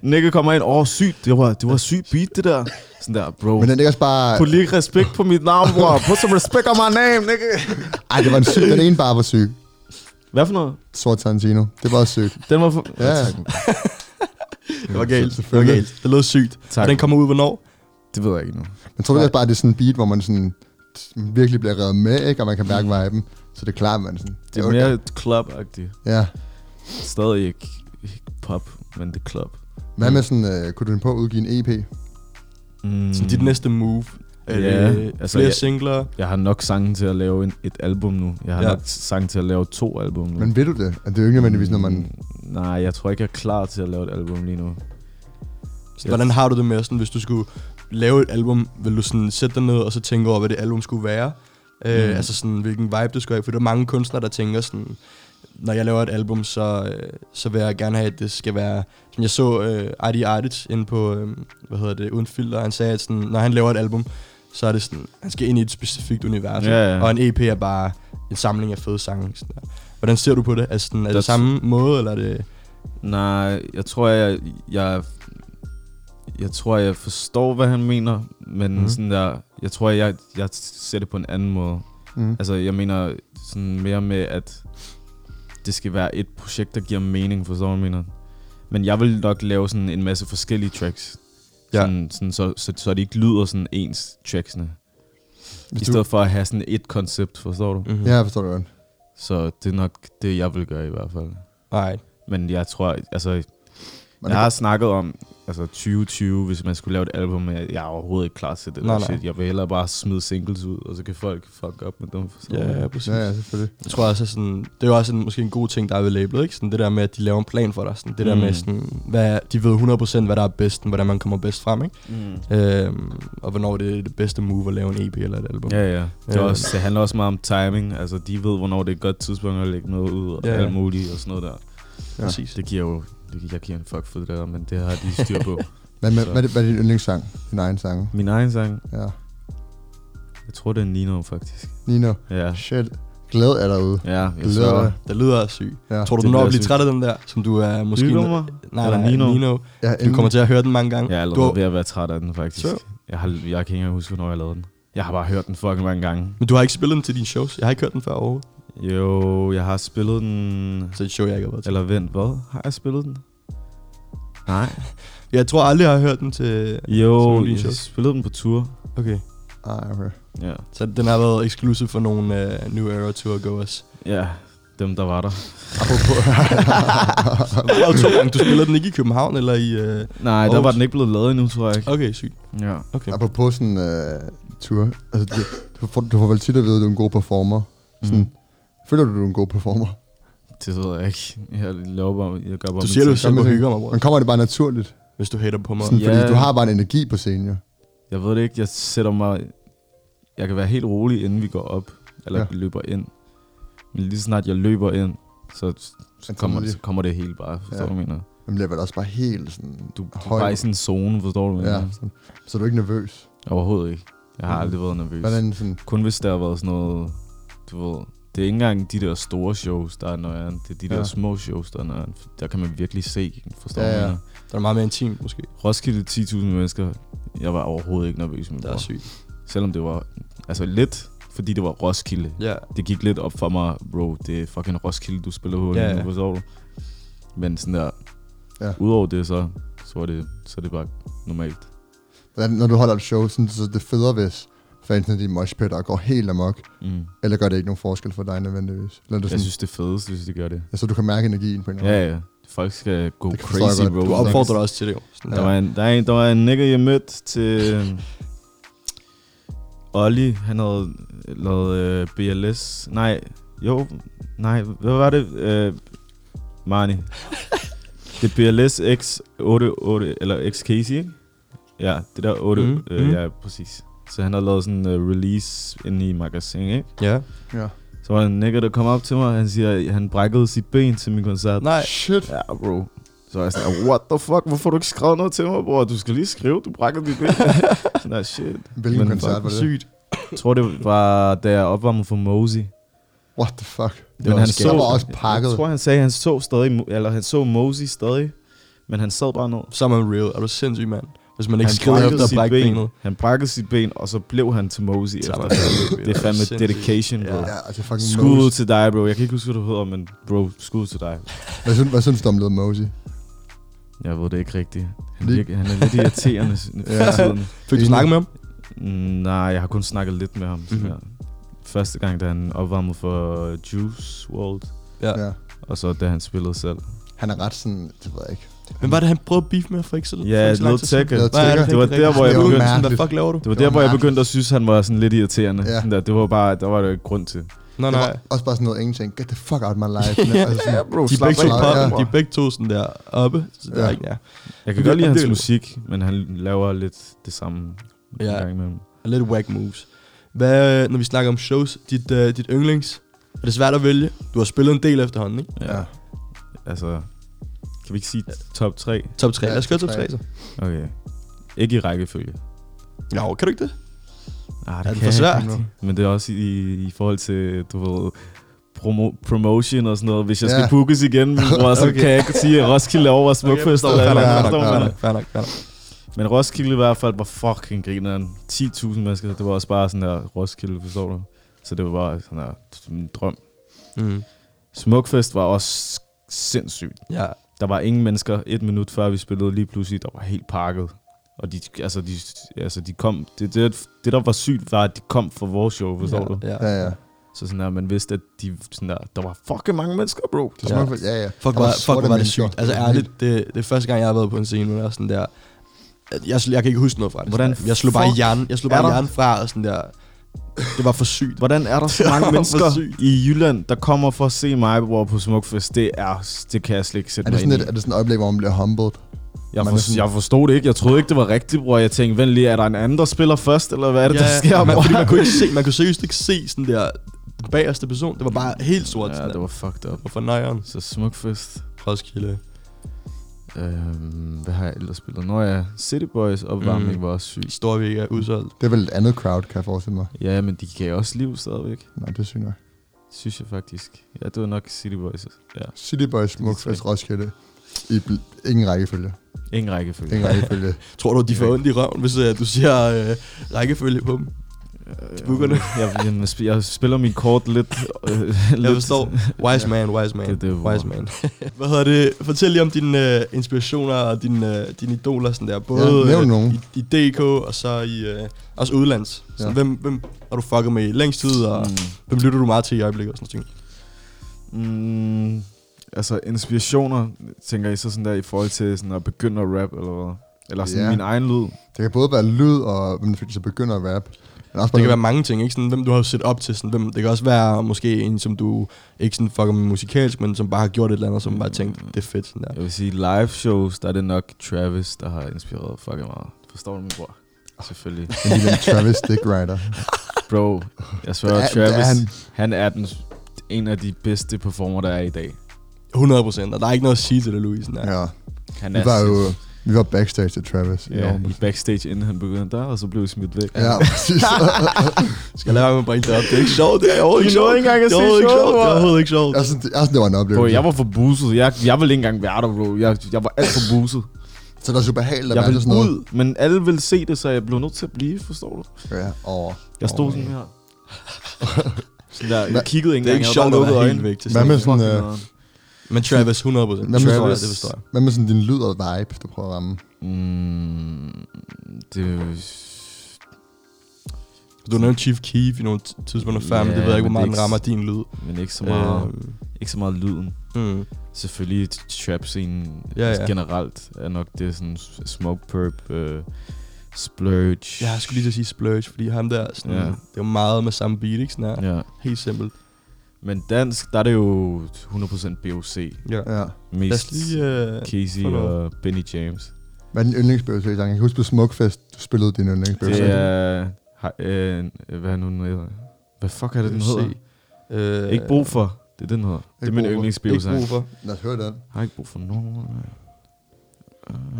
S4: Nikke kommer ind, åh, sygt, det var, det var sygt beat, det der. Sådan der, bro.
S3: men
S2: øh,
S3: den er ikke også bare...
S4: Put lige respekt på mit navn, bror. Put some respect on my name, nigga.
S3: Ej, det var en syg. Den ene bare var syg.
S4: Hvad for noget?
S3: Sort Tarantino. Det var også sygt.
S4: Den var for...
S3: Ja.
S4: Ja.
S2: Det var galt. Det var
S3: Selvfølgelig.
S2: galt. Det lød sygt.
S4: Tak.
S2: Tak. Og den kommer ud hvornår?
S4: Det ved jeg ikke nu.
S3: Men tror du ikke også bare, at det er sådan en beat, hvor man sådan virkelig bliver revet med, ikke? Og man kan mærke viben. Så det er klart, man sådan...
S4: Det er mere club-agtigt.
S3: Ja.
S4: Stadig ikke, ikke pop, men det er club.
S3: Hvad med sådan... Øh, kunne du finde på at udgive en EP?
S4: Mm.
S2: Så dit næste move? Øh,
S4: Ja, altså,
S2: altså, flere
S4: jeg-
S2: singler?
S4: Jeg har nok sange til at lave en, et album nu. Jeg har ja.
S2: Ja.
S4: nok sange til at lave to album nu.
S3: Men ved du det? At det er jo ikke nødvendigvis, når man...
S4: Mm, Nej, jeg tror ikke, jeg er klar til at lave et album lige nu.
S2: Så Hvordan har du det med, sådan, hvis du skulle lave et album, vil du sådan sætte dig ned og så tænke over, hvad det album skulle være? Øh,
S4: Mm.
S2: altså sådan, hvilken vibe det skulle have, for der er mange kunstnere, der tænker sådan, når jeg laver et album, så, øh, så vil jeg gerne have, at det skal være, som jeg så øh, Adi Artic inde på, øh, hvad hedder det, Uden Filter, han sagde, at sådan, når han laver et album, så er det sådan, han skal ind i et specifikt univers,
S4: Ja, ja.
S2: og en EP er bare en samling af fede sange. Sådan der. Hvordan ser du på det? Altså, sådan, er
S4: Der-
S2: det samme måde, eller er det...
S4: Nej, jeg tror, jeg, jeg, jeg tror, jeg forstår, hvad han mener, men mm.
S2: Mhm.
S4: sådan der, jeg tror, jeg, jeg ser det på en anden måde.
S3: Mm.
S4: Altså, jeg mener sådan mere med, at det skal være et projekt, der giver mening, forstår du, hvad jeg mener? Men jeg vil nok lave sådan en masse forskellige tracks.
S2: Ja.
S4: Sådan, sådan, så, så, så det ikke lyder sådan ens tracksene. I
S3: Hvis du,
S4: stedet for at have sådan et koncept, forstår du?
S2: Mm-hmm.
S3: ja, jeg forstår det godt.
S4: Så det er nok det, jeg vil gøre i hvert fald.
S2: Nej.
S4: Men jeg tror, altså,
S3: Men
S4: jeg
S3: det-
S4: har snakket om altså 2020, hvis man skulle lave et album, men jeg er overhovedet ikke klar til det.
S2: Nej,
S4: Nej,
S2: nej.
S4: shit. Jeg vil hellere bare smide singles ud, og så kan folk fuck op med dem. forstår du?
S2: Ja, præcis.
S3: Ja, ja, selvfølgelig.
S2: Jeg tror også, at sådan, det er jo også en, måske en god ting, der er ved labelet, ikke? Sådan det der med, at de laver en plan for dig. Sådan det der
S4: Mm.
S2: med, sådan, hvad, de ved 100% hvad der er bedst, og hvordan man kommer bedst frem, ikke?
S4: Mm.
S2: Øhm, og hvornår det er det bedste move at lave en EP eller et album.
S4: Ja, ja. Det, er
S2: Øh.
S4: også, det handler også meget om timing. Altså, de ved, hvornår det er et godt tidspunkt at lægge noget ud, og
S2: Ja,
S4: ja,
S2: ja.
S4: alt muligt og sådan noget der.
S2: ja. præcis.
S4: Det giver jo... Det, gi- jeg giver en fuck for det der, men det har de styr på.
S3: Hvad, med,
S4: Så.
S3: hvad, er, det- hvad er din yndlingssang? Din egen sang?
S4: Min egen sang,
S3: Ja.
S4: jeg tror, det er Nino, faktisk.
S3: Nino.
S4: Ja,
S3: Shit. Glad er derude.
S4: ja jeg
S3: Glæder
S4: sværger.
S3: dig.
S2: Det lyder også sygt.
S3: Ja.
S2: Tror du,
S4: det
S2: du når
S4: bliver
S2: at blive
S4: sygt.
S2: træt af den der, som du er måske...
S4: Lytter mig?
S2: Nej,
S4: Eller
S2: nej,
S4: Nino? Øhm.
S2: Nino. Nino.
S3: Ja,
S2: Du kommer
S3: til.
S2: til at høre den mange gange.
S4: Jeg er
S2: du,
S4: allerede ved at være træt af den, faktisk.
S2: Så.
S4: Jeg, har, jeg kan ikke engang huske, hvornår jeg lavede den. Jeg har bare hørt den fucking mange gange.
S2: men du har ikke spillet den til dine shows. Jeg har ikke hørt den før overhovedet.
S4: Jo, jeg har spillet den...
S2: Så det er et show, jeg ikke har været til.
S4: Eller vent, hvad? Har jeg spillet den? Nej.
S2: Jeg tror aldrig, jeg har hørt den til...
S4: Jo,
S2: Selvfølgelig,
S4: jeg
S2: så.
S4: spillede den på tur.
S2: Okay.
S3: Ah, okay.
S4: Ja.
S2: Så den har været eksklusiv for nogle uh, New Era Tour goers.
S4: ja, dem der var der.
S2: Det var jo to gange. Du spillede den ikke i København eller i... Øh...
S4: Nej, der
S2: Aarhus.
S4: var den ikke blevet lavet endnu, tror jeg ikke.
S2: Okay, sygt.
S4: Ja.
S2: Okay.
S3: Apropos sådan uh, tur. Altså, det, du, får, du får vel tit at vide, at du er en god performer. Sådan,
S4: Mm.
S3: Føler du, du er en god performer?
S4: Det ved jeg ikke. Jeg laver bare, jeg gør
S2: Du
S4: bare min
S2: siger det jo
S4: ting.
S2: selv,
S3: Kom
S2: hvor
S3: med
S2: hygger mig, bror.
S3: Men kommer det bare naturligt?
S2: Hvis du hater på mig.
S3: Sådan, Fordi
S4: Ja.
S3: du har bare en energi på scenen, jo.
S4: Jeg ved det ikke, jeg sætter mig... Jeg kan være helt rolig, inden vi går op. Eller
S3: Ja.
S4: ja. løber ind. Men lige så snart jeg løber ind, så, så,
S3: Så
S4: kommer,
S3: kommer de.
S4: så kommer det helt bare. Forstår
S3: Ja.
S4: ja. du, hvad jeg mener?
S3: Man bliver vel også bare helt sådan...
S4: Du, du er
S3: høj.
S4: bare i sådan en zone, forstår du, hvad jeg
S3: Ja,
S4: mener?
S3: sådan. Så er du ikke nervøs.
S4: Overhovedet ikke. Jeg har
S3: Mhm.
S4: aldrig været nervøs.
S3: Hvordan sådan...
S4: Kun hvis der har været sådan noget, du ved, det er ikke engang de der store shows, der er nøjeren. Det er de ja.
S3: Ja.
S4: der små shows, der er nøjeren. For Der kan man virkelig se, forstår du?
S3: Ja,
S4: Ja,
S3: ja.
S4: ja.
S2: Der er meget mere intimt, måske.
S4: Roskilde 10.000 mennesker. Jeg var overhovedet ikke nervøs med
S2: Det er
S4: bror.
S2: sygt.
S4: Selvom det var, altså lidt, fordi det var Roskilde.
S2: Ja.
S4: Det gik lidt op for mig, bro, det er fucking Roskilde, du spiller på,
S2: Ja,
S4: ja,
S2: ja.
S4: ja. forstår du? Men sådan der,
S3: Ja.
S4: ja. udover det, så, så, er det, så er det bare normalt.
S3: Hvordan, når du holder et show, sådan, så er det federe, hvis fansene de moshpitter og går helt amok,
S4: Mm.
S3: eller gør det ikke nogen forskel for dig nødvendigvis? Eller er det
S4: Jeg
S3: sådan,
S4: synes, det er fedest, hvis de gør det.
S3: altså, du kan mærke energien på en eller anden
S4: Ja, ja. Folk skal gå
S3: Det forstår jeg
S4: crazy,
S3: godt.
S4: bro.
S2: Du opfordrer dig også til det, jo. Sådan,
S4: Der, var en, der, er en, der var en nigger, jeg mødte til... øh, Olli, han havde lavet øh, BLS. Nej, jo, nej, hvad var det? Øh, Marni. Det er BLS X88, eller XKC, ikke? Ja, det der 8, mm.
S2: Mhm,
S4: øh,
S2: mhm.
S4: ja, præcis. Så han havde lavet sådan en øh, release inde i magasin, ikke?
S2: Ja.
S4: Så var der en nigger, der kom op til mig, og han siger, at han brækkede sit ben til min koncert.
S2: Nej.
S3: Shit.
S4: Ja, bro. Så er jeg sådan, what the fuck, hvorfor har du ikke skrevet noget til mig, bror? Du skal lige skrive, du brækker dit ben. Nej, shit.
S3: Hvilken
S4: Men
S3: koncert
S4: fuck,
S3: var det?
S2: Sygt.
S4: Jeg tror, det var, da jeg opvarmede for Mosey.
S3: What the fuck? Det
S4: Men
S3: var,
S4: han
S3: også-
S4: så-
S3: jeg var også pakket.
S4: Jeg tror, han sagde, at han så stadig, Mo- eller han så Mosey stadig, men han sad bare ned.
S2: Så er man real. Er du sindssyg, mand? Hvis man ikke
S4: Han
S2: skrider efter at brække
S4: ben.
S2: benet.
S4: Han brækkede sit ben, og så blev han til Mosey
S2: Så er
S4: efter.
S2: man
S4: Det er fandme
S2: sindssygt.
S4: dedication, bro.
S3: Ja, altså fucking
S4: Skud
S3: Mosey.
S4: til dig, bro. Jeg kan ikke huske, hvad du hedder, men bro, skud til dig.
S3: Hvad synes, hvad synes du om Led Mosey?
S4: Jeg ved det ikke rigtigt. Han,
S3: Lige-
S4: virker, han er lidt irriterende
S3: Ja.
S4: for tiden.
S2: Fik du snakket med ham?
S4: Mm, Nej, jeg har kun snakket lidt med ham. Mm-hmm. Ja. Første gang, da han opvarmede for Juice WRLD,
S2: Ja.
S3: Ja.
S4: og så da han spillede selv.
S3: Han er ret sådan, det ved jeg ikke.
S2: Men var det, han prøvede at beef med for ikke så
S4: Ja,
S2: for
S4: Lil
S2: ikke så lang tid siden?
S4: Tecca.
S3: Lil
S2: Hvad er
S3: Tecca.
S4: Det var der, hvor jeg
S2: Det var
S3: begyndte-
S2: sådan, Hvad fuck laver du?
S4: Det var
S3: Det
S4: der,
S3: var
S4: hvor jeg
S3: mærkeligt.
S4: begyndte at synes, han var sådan lidt irriterende.
S3: Ja.
S4: Ja. Det var bare, der var der ikke grund til.
S2: Nej,
S3: Det
S2: nej.
S3: var også bare sådan noget, ingen tænkte, get the fuck out of my life. altså, sådan,
S4: bro,
S2: De er begge to
S3: af,
S2: poppen,
S3: ja.
S2: de er begge to sådan der oppe. Så der
S3: Ja.
S2: er ikke, ja.
S4: Jeg kan
S2: Det-
S4: godt lide
S2: det-
S4: hans musik, men han laver lidt det samme
S2: Ja.
S4: ja. gang imellem.
S2: Og lidt whack moves. Hvad, øh, når vi snakker om shows, dit, øh, dit yndlings, er det svært at vælge? Du har spillet en del efterhånden, ikke?
S4: Ja.
S3: Ja.
S4: ja. Altså, kan vi ikke sige top 3?
S2: Top 3.
S3: Ja,
S2: Lad os køre
S3: top
S2: top 3
S3: tre.
S2: så.
S4: Okay. Ikke i rækkefølge.
S2: Jo, kan du ikke det?
S4: Ah,
S2: Er det
S4: kan
S2: for
S4: jeg ikke
S2: svært?
S4: rigtig. Men det er også i, i forhold til, du ved, promo, promotion og sådan noget. Hvis jeg skal
S3: Ja.
S4: yeah. bookes igen, bror, så okay. kan jeg ikke sige, at Roskilde er over Smukfest.
S2: forstår,
S4: Okay, eller,
S2: fair
S4: eller,
S2: nok,
S4: eller,
S2: fair
S4: eller,
S2: nok,
S4: eller,
S2: fair nok, fair nok, fair nok.
S4: Men Roskilde i hvert fald var fucking grineren. 10.000 mennesker, det var også bare sådan der Roskilde, forstår du? Så det var bare sådan der en drøm.
S2: Mm.
S4: Smukfest var også sindssygt.
S2: Ja,
S4: Der var ingen mennesker. Et minut før vi spillede lige pludselig, der var helt pakket. Og de, altså, de, altså, de kom... Det, det, det, der var sygt, var, at de kom fra vores show, forstår
S2: ja,
S4: du?
S2: Ja.
S3: Ja, ja.
S4: Så sådan der, man vidste, at de, sådan der, der var fucking mange mennesker, bro.
S3: Det er smuk, ja, ja.
S2: Fuck,
S3: Der
S2: var,
S3: sorte
S2: fuck hvor var det
S3: mennesker.
S2: sygt. Altså ærligt, det, det er første gang, jeg har været på en scene, hvor jeg er sådan der... Jeg, jeg kan ikke huske noget fra det.
S4: Hvordan
S2: jeg slog bare
S4: fuck
S2: hjernen, jeg slog
S4: er
S2: bare
S4: der-
S2: hjernen fra, og sådan der... Det var for sygt.
S4: Hvordan er der så
S2: Det
S4: mange
S2: var for
S4: mennesker
S2: sygt.
S4: i Jylland, der kommer for at se mig, hvor på Smukfest? Det er, det kan jeg slet ikke sætte
S3: Er det, sådan
S4: mig ind i.
S3: et, er det sådan et øjeblik, hvor man bliver humbled?
S4: Jeg,
S3: Man
S4: for,
S3: er sådan-
S4: jeg forstod det ikke. Jeg troede ikke, det var rigtigt, bror. Jeg tænkte, vent lige, er der en anden, der spiller først, eller hvad er det, ja, der sker,
S2: man,
S4: bror?
S2: fordi man kunne, ikke se, man kunne seriøst ikke se sådan der den bagerste person. Det var bare helt sort.
S4: Ja, det var fucked up.
S2: Hvorfor nøjeren?
S4: Så Smukfest.
S2: Roskilde.
S4: Øhm, hvad har jeg ellers spillet? Nå ja, City Boys opvarmning
S2: Mm.
S4: mm. var også syg.
S2: Store vi ikke er udsolgt.
S3: Det er vel et andet crowd, kan jeg forestille mig.
S4: Ja, men de gav også liv stadigvæk.
S3: Nej, det synes jeg.
S4: Synes jeg faktisk. Ja, det var nok City Boys. Ja,
S3: City Boys, Smukfest, Roskilde. I bl- ingen rækkefølge.
S4: ingen rækkefølge.
S3: Ingen rækkefølge.
S2: Tror du, de får ondt i røven, hvis øh, du siger øh, rækkefølge på dem? Bookerne.
S4: Mm, Jeg, jeg, jeg, spiller min kort lidt. Øh,
S2: Jeg
S4: lidt-
S2: forstår. Wise man, wise man.
S4: Det- det er
S2: wise man. Hvad hedder det? Fortæl lige om dine øh, inspirationer og dine, øh, dine idoler, sådan der. Både
S3: Ja, nævn
S2: øh,
S3: nogen.
S2: I, i DK og så i øh, også udlands. Så
S3: Ja.
S2: hvem, hvem har du fucket med i længst tid, og mm. hvem lytter du meget til i øjeblikket og sådan noget?
S4: Mm, altså inspirationer, tænker I så sådan der i forhold til sådan at begynde at rap, eller hvad? Eller sådan
S3: Ja.
S4: yeah. min egen lyd.
S3: Det kan både være lyd, og hvem der så begynder at rappe. Men også
S2: Det kan være mange ting, ikke? Sådan, hvem du har set op til. Sådan, hvem, det kan også være måske en, som du ikke sådan fucker med musikalsk, men som bare har gjort et eller andet, som bare tænkt, det er fedt. Sådan der.
S4: Jeg vil sige live shows, der er det nok Travis, der har inspireret fucking meget. Forstår du min bror? Selvfølgelig.
S3: en lille Travis Dick Rider.
S4: Bro, jeg sværger,
S3: Det er- det er
S4: Travis,
S3: han.
S4: han. han er den, en af de bedste performer, der er i dag.
S2: 100 procent, og der er ikke noget at sige til det, Louis. Sådan der.
S3: Ja.
S4: Han
S3: Vi
S4: er
S3: var jo
S4: sindssyg.
S3: vi var backstage til Travis. i
S4: ja,
S3: Aarhus.
S4: i backstage, inden han begyndte der, og så blev vi smidt væk.
S3: Ja, præcis.
S2: Skal jeg lade være med at bringe det op? Det er ikke sjovt, det er overhovedet ikke
S4: Vi nåede
S2: sjovt.
S4: ikke engang at
S2: Det er
S4: se
S2: overhovedet ikke
S4: showet,
S2: sjovt, Det er
S4: bror.
S2: overhovedet ikke sjovt.
S3: Jeg synes, det, jeg synes, det var en
S4: Bro,
S3: oplevelse.
S4: jeg var for buset. Jeg, jeg ville ikke engang være der, bro. Jeg, jeg var alt for buset.
S3: Så det var så ubehageligt at
S4: Jeg
S3: være
S4: ville
S3: til sådan noget.
S4: ud, men alle ville se det, så jeg blev nødt til at blive, forstår du?
S3: Ja, over.
S4: Jeg stod oh, sådan her. sådan der, jeg kiggede ikke
S2: Det er ikke
S4: engang, jeg
S2: sjovt,
S4: var
S2: at
S4: bare
S2: være
S4: lukket
S2: helt
S4: øjnene.
S2: væk til
S3: Hvad
S2: sådan
S3: med
S2: noget.
S3: sådan, øh,
S4: Fucking
S2: Men Travis, 100 procent.
S3: hvad med,
S2: Travis,
S3: sådan,
S2: det forstår jeg.
S3: hvad med sådan din lyd og vibe, du prøver at ramme?
S4: Mm, det er jo-
S2: Du nævnte Chief Keef i nogle t- tidspunkter før, men
S4: Ja,
S2: det ved jeg ikke,
S4: men
S2: hvor meget
S4: det
S2: den
S4: er
S2: rammer
S4: ikke-
S2: din lyd.
S4: men ikke så meget, øh.
S2: Øhm,
S4: ikke så meget lyden.
S2: mm.
S4: Selvfølgelig t- trap-scenen
S2: Ja,
S4: ja,
S2: ja.
S4: ja. generelt er nok det sådan s- smoke perp, øh, splurge.
S2: Ja, jeg skulle lige til at sige Splurge, fordi ham der, sådan,
S4: Ja.
S2: det er jo meget med samme beat, ikke? Sådan her.
S4: Ja.
S2: Helt simpelt.
S4: Men dansk, der er det jo 100% BOC.
S2: Ja.
S3: Ja.
S2: Lad
S4: Mest
S2: os lige... øh,
S4: Casey
S2: få noget.
S4: og Benny James.
S3: Hvad er din yndlingsbøvelse i sang? Jeg kan huske på Smukfest, du spillede din yndlingsbøvelse.
S4: Det er... har- Øh, hvad er nu den hedder? Hvad fuck er det, den
S2: Se.
S4: hedder?
S2: Øh,
S4: Ikke brug for. Det er den hedder. Det er
S3: Ikke
S4: min
S3: brug for.
S4: yndlingsbiosang.
S2: Ikke brug for.
S3: Lad os høre den.
S4: Jeg har ikke brug for nogen.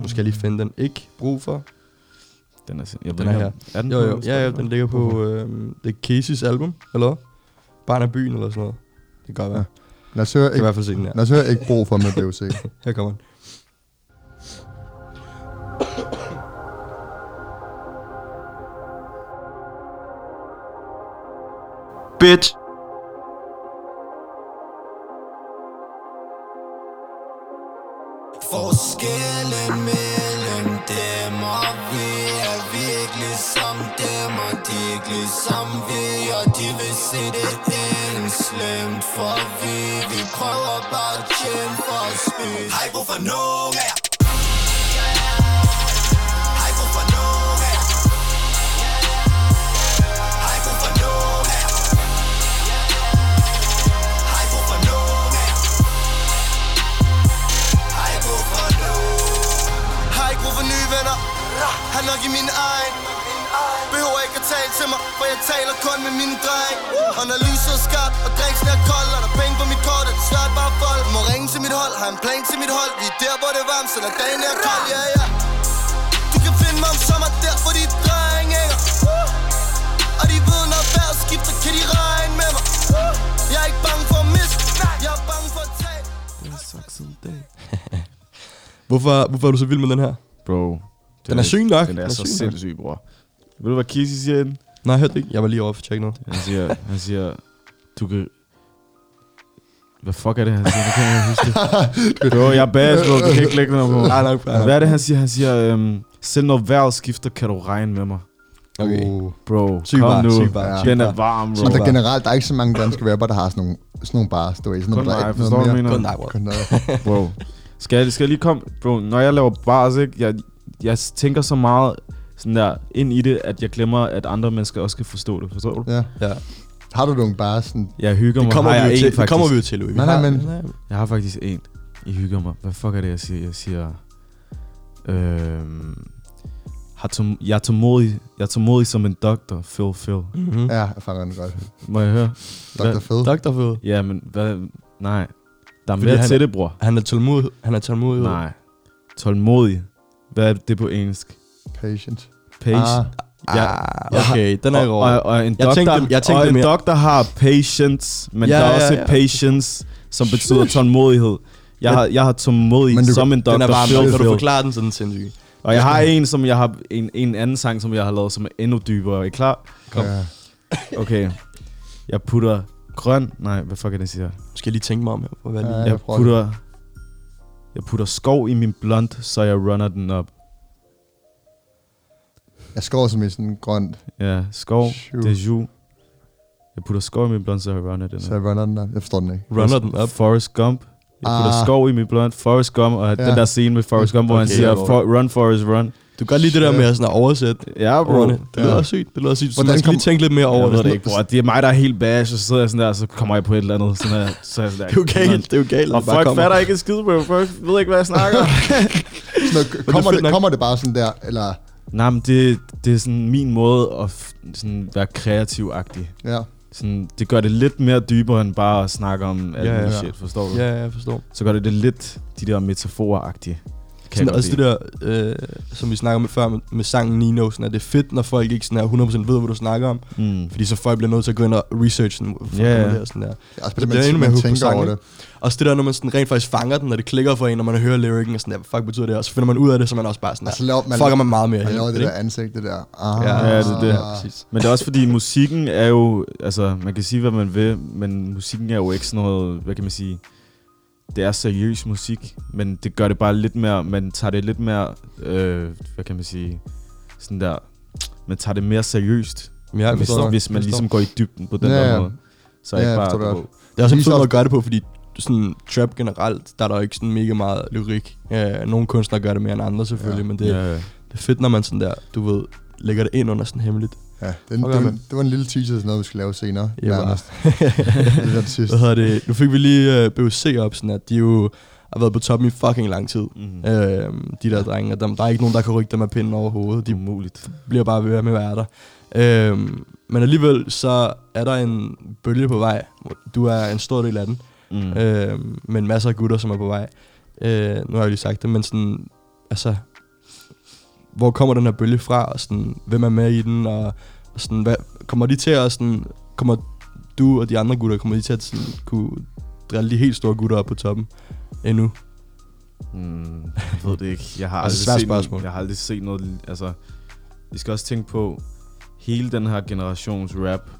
S2: Nu skal jeg lige finde den. Ikke brug for.
S4: Den er, sind- jeg ved
S2: Den er
S4: ikke, om- Er den
S2: Jo,
S4: på
S2: jo. Ja, ja,
S4: Spotify?
S2: den ligger på... Øh, det er Casey's album, eller hvad? Barn af byen, eller sådan noget. Det kan godt være.
S3: Ja. Lad os høre,
S2: Jeg kan i
S3: ikke,
S2: hvert fald se den her.
S3: lad os høre ikke brug for med BOC.
S2: Her kommer den.
S9: bitch.
S8: Forskelle
S9: dårlig samvittighed Og de vil se det ende slemt For vi, vi prøver bare at tjene for at spise Har I brug for nogen af jer? Har I brug for nogen af jer? Har I brug for nogen af jer? Har I brug for nogen af jer? Har I brug for nogen? Har ikke brug for nye venner Har nok i min egen Behøver ikke at tale til mig For jeg taler kun med mine dreng Og når lyset er skarpt og drinksen er kold Og der er penge på mit kort, er det snart bare folk Må ringe til mit hold, har en plan til mit hold Vi er der, hvor det er varmt, så når dagen er kold Ja, ja Du kan finde mig om sommer der, hvor de drenge hænger Og de ved, når vejret skifter, kan de regne med mig Jeg er ikke bange for at miste Jeg er bange for at tabe
S2: Hvorfor, hvorfor er du så vild med den her?
S4: Bro.
S2: Den er syg nok.
S4: Den er så
S2: syg nok.
S4: sindssyg, bror. Ved du, hvad Kizzy siger inden?
S2: Nej, jeg hørte det ikke. Jeg var lige over for at tjekke noget.
S4: Han siger, han siger, du kan... Hvad fuck er det, han siger? Det kan jeg ikke huske det. Bro, jeg er bad, bro. Du kan ikke lægge noget på mig.
S2: Nej, nok. nej, nok.
S4: Hvad er det, han siger? Han siger, øhm, selv når vejret skifter, kan du regne med mig.
S2: Okay.
S3: Uh.
S4: Bro,
S2: Syg
S4: kom
S2: bar,
S4: nu.
S2: syg bar, syg
S4: Den er
S2: bar.
S4: varm, bro.
S3: Men der
S2: Bare-
S3: generelt, der er ikke så mange danske rapper, der har sådan nogle, sådan nogle bars, du ved. Sådan
S4: Kun
S3: noget, der er
S4: mig,
S3: ikke noget
S4: forstår
S3: mere.
S4: du, mener?
S2: Kun dig, bro.
S3: Kun dig.
S4: Bro, skal jeg, skal jeg lige komme? Bro, når jeg laver bars, ikke? Jeg, jeg tænker så meget sådan der, ind i det, at jeg glemmer, at andre mennesker også skal forstå det. Forstår du?
S3: Ja.
S2: Ja.
S3: Har du nogle bars sådan...
S4: Jeg hygger
S2: Det
S4: mig.
S2: kommer,
S4: har
S2: vi
S4: jeg
S2: jo
S4: en,
S2: til, det
S4: faktisk.
S2: kommer vi jo til, Louis. Vi
S3: Nej, nej,
S2: har-
S3: men-
S4: Jeg har faktisk en. I hygger mig. Hvad fuck er det, jeg siger? Jeg siger... Øhm, har tom, jeg, er tålmodig, jeg er tålmodig som en doktor. Phil, Phil.
S2: Mhm.
S3: Ja, jeg fanger den godt.
S4: Må jeg høre?
S3: Dr. Fed.
S2: Dr. Føde.
S4: Ja, men hvad? Nej. Der er
S2: Fordi
S4: mere
S2: han-
S4: til det, bror.
S2: Han er tålmodig. Han er tålmodig.
S4: Nej. Tålmodig. Hvad er det på engelsk?
S3: Patient.
S4: Patient.
S3: Ah,
S4: ja.
S2: Ah, okay, den er ikke
S4: og,
S2: over.
S4: og, og en
S2: Jeg
S4: doktor,
S2: tænkte dem- jeg tænkte
S4: og
S2: dem
S4: en
S2: mere.
S4: doktor har patience, men
S2: Ja,
S4: ja, der er
S2: ja,
S4: også
S2: ja.
S4: ja, patience, som betyder tålmodighed. Jeg, har, jeg har tålmodig
S3: Men du-
S4: som en doktor.
S2: Den er varm.
S4: Phil,
S2: Kan du
S4: Phil.
S2: forklare den sådan sindssygt?
S4: Og jeg har en, som jeg har en, en anden sang, som jeg har lavet, som er endnu dybere. Er I klar? Kom.
S3: Ja.
S4: Okay. Jeg putter grøn... Nej, hvad fuck er det, jeg siger?
S2: Nu skal jeg lige tænke mig om her. Hvad er det?
S3: Ja,
S4: Jeg
S3: prøver
S4: putter... Jeg putter skov i min blond, så jeg runner den op.
S3: det. Jeg skår som i sådan en grønt,
S4: Ja, skov,
S3: Shoot.
S4: det er ju. Jeg putter skov i min blond, så jeg runner den
S3: så
S4: op.
S3: jeg runner den op. Jeg forstår den ikke.
S2: Runner den op.
S4: Forrest Gump. Jeg putter
S3: Ah.
S4: skov i min blond, Forrest Gump, og den der scene med Forrest Gump, hvor han
S2: Okay,
S4: siger,
S2: jeg går.
S4: "For- run, Forrest, run.
S2: Du kan godt lide det der med at sådan at oversætte
S4: Ja, bro.
S2: ordene. Det lyder også sygt. Det lyder også sygt. Så
S3: Hvordan
S2: man skal lige
S3: kom-
S2: tænke lidt mere over
S4: Jeg ved det
S2: Sådan
S4: ikke, bror. Det er mig, der er helt bash, og så sidder jeg sådan der, og så kommer jeg på et eller andet. Sådan der, så er jeg sådan
S2: Det er
S4: der,
S2: jo galt. Det er jo galt. at
S4: Og
S2: det bare
S4: folk
S2: kommer.
S4: fatter ikke en skid, bro. Folk ved ikke, hvad jeg snakker om.
S3: Sådan noget, kommer, det, kommer det bare sådan der, eller...
S4: Nej, men det, det er sådan min måde at f- sådan være kreativ-agtig.
S3: Ja.
S4: Sådan, det gør det lidt mere dybere end bare at snakke om alt
S2: Ja,
S4: ja,
S2: ja,
S4: ja,
S2: ja.
S4: shit, forstår du?
S2: Ja, jeg forstår.
S4: Så gør det det lidt de der metaforer-agtige. Kan
S2: Sådan,
S4: jeg
S2: også
S4: også
S2: det der, øh, som vi snakker om før med, med sangen Nino, sådan, at det er fedt, når folk ikke sådan er 100% ved, hvad du snakker om.
S4: Mm.
S2: Fordi så folk bliver nødt til at gå ind og researche den.
S4: Ja, ja.
S2: Yeah. Sådan der.
S3: Det er også
S2: Så
S3: det,
S2: bliver
S3: Altså, man,
S2: det med
S3: man
S2: hook på
S3: tænker
S2: sangen,
S3: over det.
S2: ikke? Også det der, når man sådan rent faktisk fanger den, når det klikker for en, når man hører lyrikken og sådan der, hvad fuck betyder det? Og så finder man ud af det, så er man også bare sådan der,
S3: Og så laver man-
S2: fucker man meget mere.
S3: Man
S2: hen,
S3: laver det
S2: ikke?
S3: der ansigt, det der. Ah,
S2: Ja,
S4: Ja, det er det.
S2: Ja, præcis.
S4: Men det er også fordi, musikken er jo... Altså, man kan sige, hvad man vil, men musikken er jo ikke sådan noget... Hvad kan man sige? Det er seriøs musik, men det gør det bare lidt mere... Man tager det lidt mere... Øh, hvad kan man sige? Sådan der... Man tager det mere seriøst,
S2: Men jeg
S4: hvis,
S2: forstår det.
S4: hvis man ligesom går i dybden på den
S3: Ja,
S4: ja,
S3: ja.
S4: der måde. Så er
S3: Ja,
S4: ikke
S3: jeg
S4: bare...
S3: forstår det
S4: du
S3: godt.
S2: Det er også en
S3: Lige
S2: fed
S3: så-
S2: måde at gøre det på, fordi sådan trap generelt, der er der jo ikke sådan mega meget lyrik. Øh, nogle kunstnere gør det mere end andre selvfølgelig, men det,
S4: ved- Ja, ja.
S2: det er fedt, når man sådan der, du ved, lægger det ind under sådan hemmeligt.
S3: Ja, den,
S2: Okay,
S3: det, var,
S2: men-
S3: det var en lille teaser til noget, vi skal lave senere.
S2: Ja, bare.
S3: nærmest. det er det sidste.
S2: Hvad hedder det? Nu fik vi lige øh, BUC op, sådan at de jo har været på toppen i fucking lang tid.
S4: Mhm.
S2: Mm. Øh, de der drenge, og dem, der er ikke nogen, der kan rykke dem af pinden overhovedet. De
S4: Umuligt.
S2: bliver bare ved med at være der. Øhm, men alligevel så er der en bølge på vej. Du er en stor del af den.
S4: Mm.
S2: Øhm, men masser af gutter, som er på vej. Øh, nu har jeg lige sagt det, men sådan, altså, hvor kommer den her bølge fra, og sådan, hvem er med i den, og, og sådan, hvad, kommer de til at sådan, kommer du og de andre gutter, kommer de til at sådan, kunne drille de helt store gutter op på toppen endnu?
S4: Mm, jeg ved det ikke. Jeg har,
S2: Altså,
S4: aldrig
S2: svært
S4: set
S2: spørgsmål.
S4: Noget, jeg har aldrig set noget... Altså, I skal også tænke på, hele den her generations rap,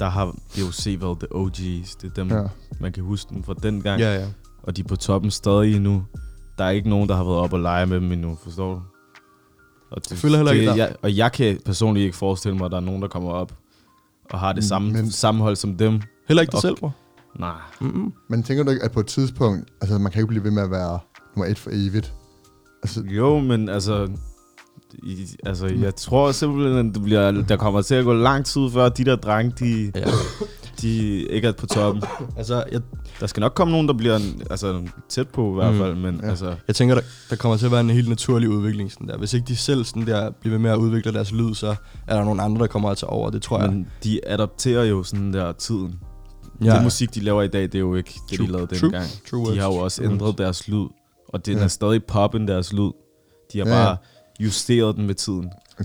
S4: der har DOC været the OG's. Det er dem,
S3: Ja.
S4: ja. man kan huske dem fra dengang.
S2: Ja, ja.
S4: Og de er på toppen stadig endnu. Der er ikke nogen, der har været op og lege med dem endnu, forstår du? Og
S2: Jeg føler heller ikke,
S4: det,
S2: der-
S4: jeg, og jeg kan personligt ikke forestille mig, at der er nogen, der kommer op og har
S2: Mm,
S4: det samme
S3: Men-
S4: men... sammenhold som dem.
S2: Heller ikke dig
S4: Og-
S2: selv, bror.
S4: Nej.
S3: Men tænker du ikke, at på et tidspunkt, altså man kan jo ikke blive ved med at være nummer et for evigt? Altså,
S4: Jo, men altså... I, altså, jeg tror simpelthen, at det bliver, der kommer til at gå lang tid, før de der drenge, de,
S2: Ja.
S4: de ikke er på toppen.
S2: Altså, jeg,
S4: Der skal nok komme nogen, der bliver altså, tæt på i hvert
S2: Mm.
S4: fald, men
S3: Ja.
S4: ja. altså...
S2: jeg tænker, der, der kommer til at være en helt naturlig udvikling. Sådan der. Hvis ikke de selv sådan der, bliver ved med at udvikle deres lyd, så er der nogle andre, der kommer at tage over. Det tror jeg.
S4: Men de adopterer jo sådan der tiden. Ja.
S2: Ja.
S4: Den musik, de laver i dag, det er jo ikke det,
S2: True-
S4: de lavede
S2: true-
S4: dengang.
S2: true
S4: de
S2: words,
S4: har jo også
S2: true
S4: ændret
S2: words.
S4: deres lyd, og den
S3: Ja.
S4: er stadig poppen deres lyd. De har
S3: Ja, ja.
S4: bare justeret den med tiden.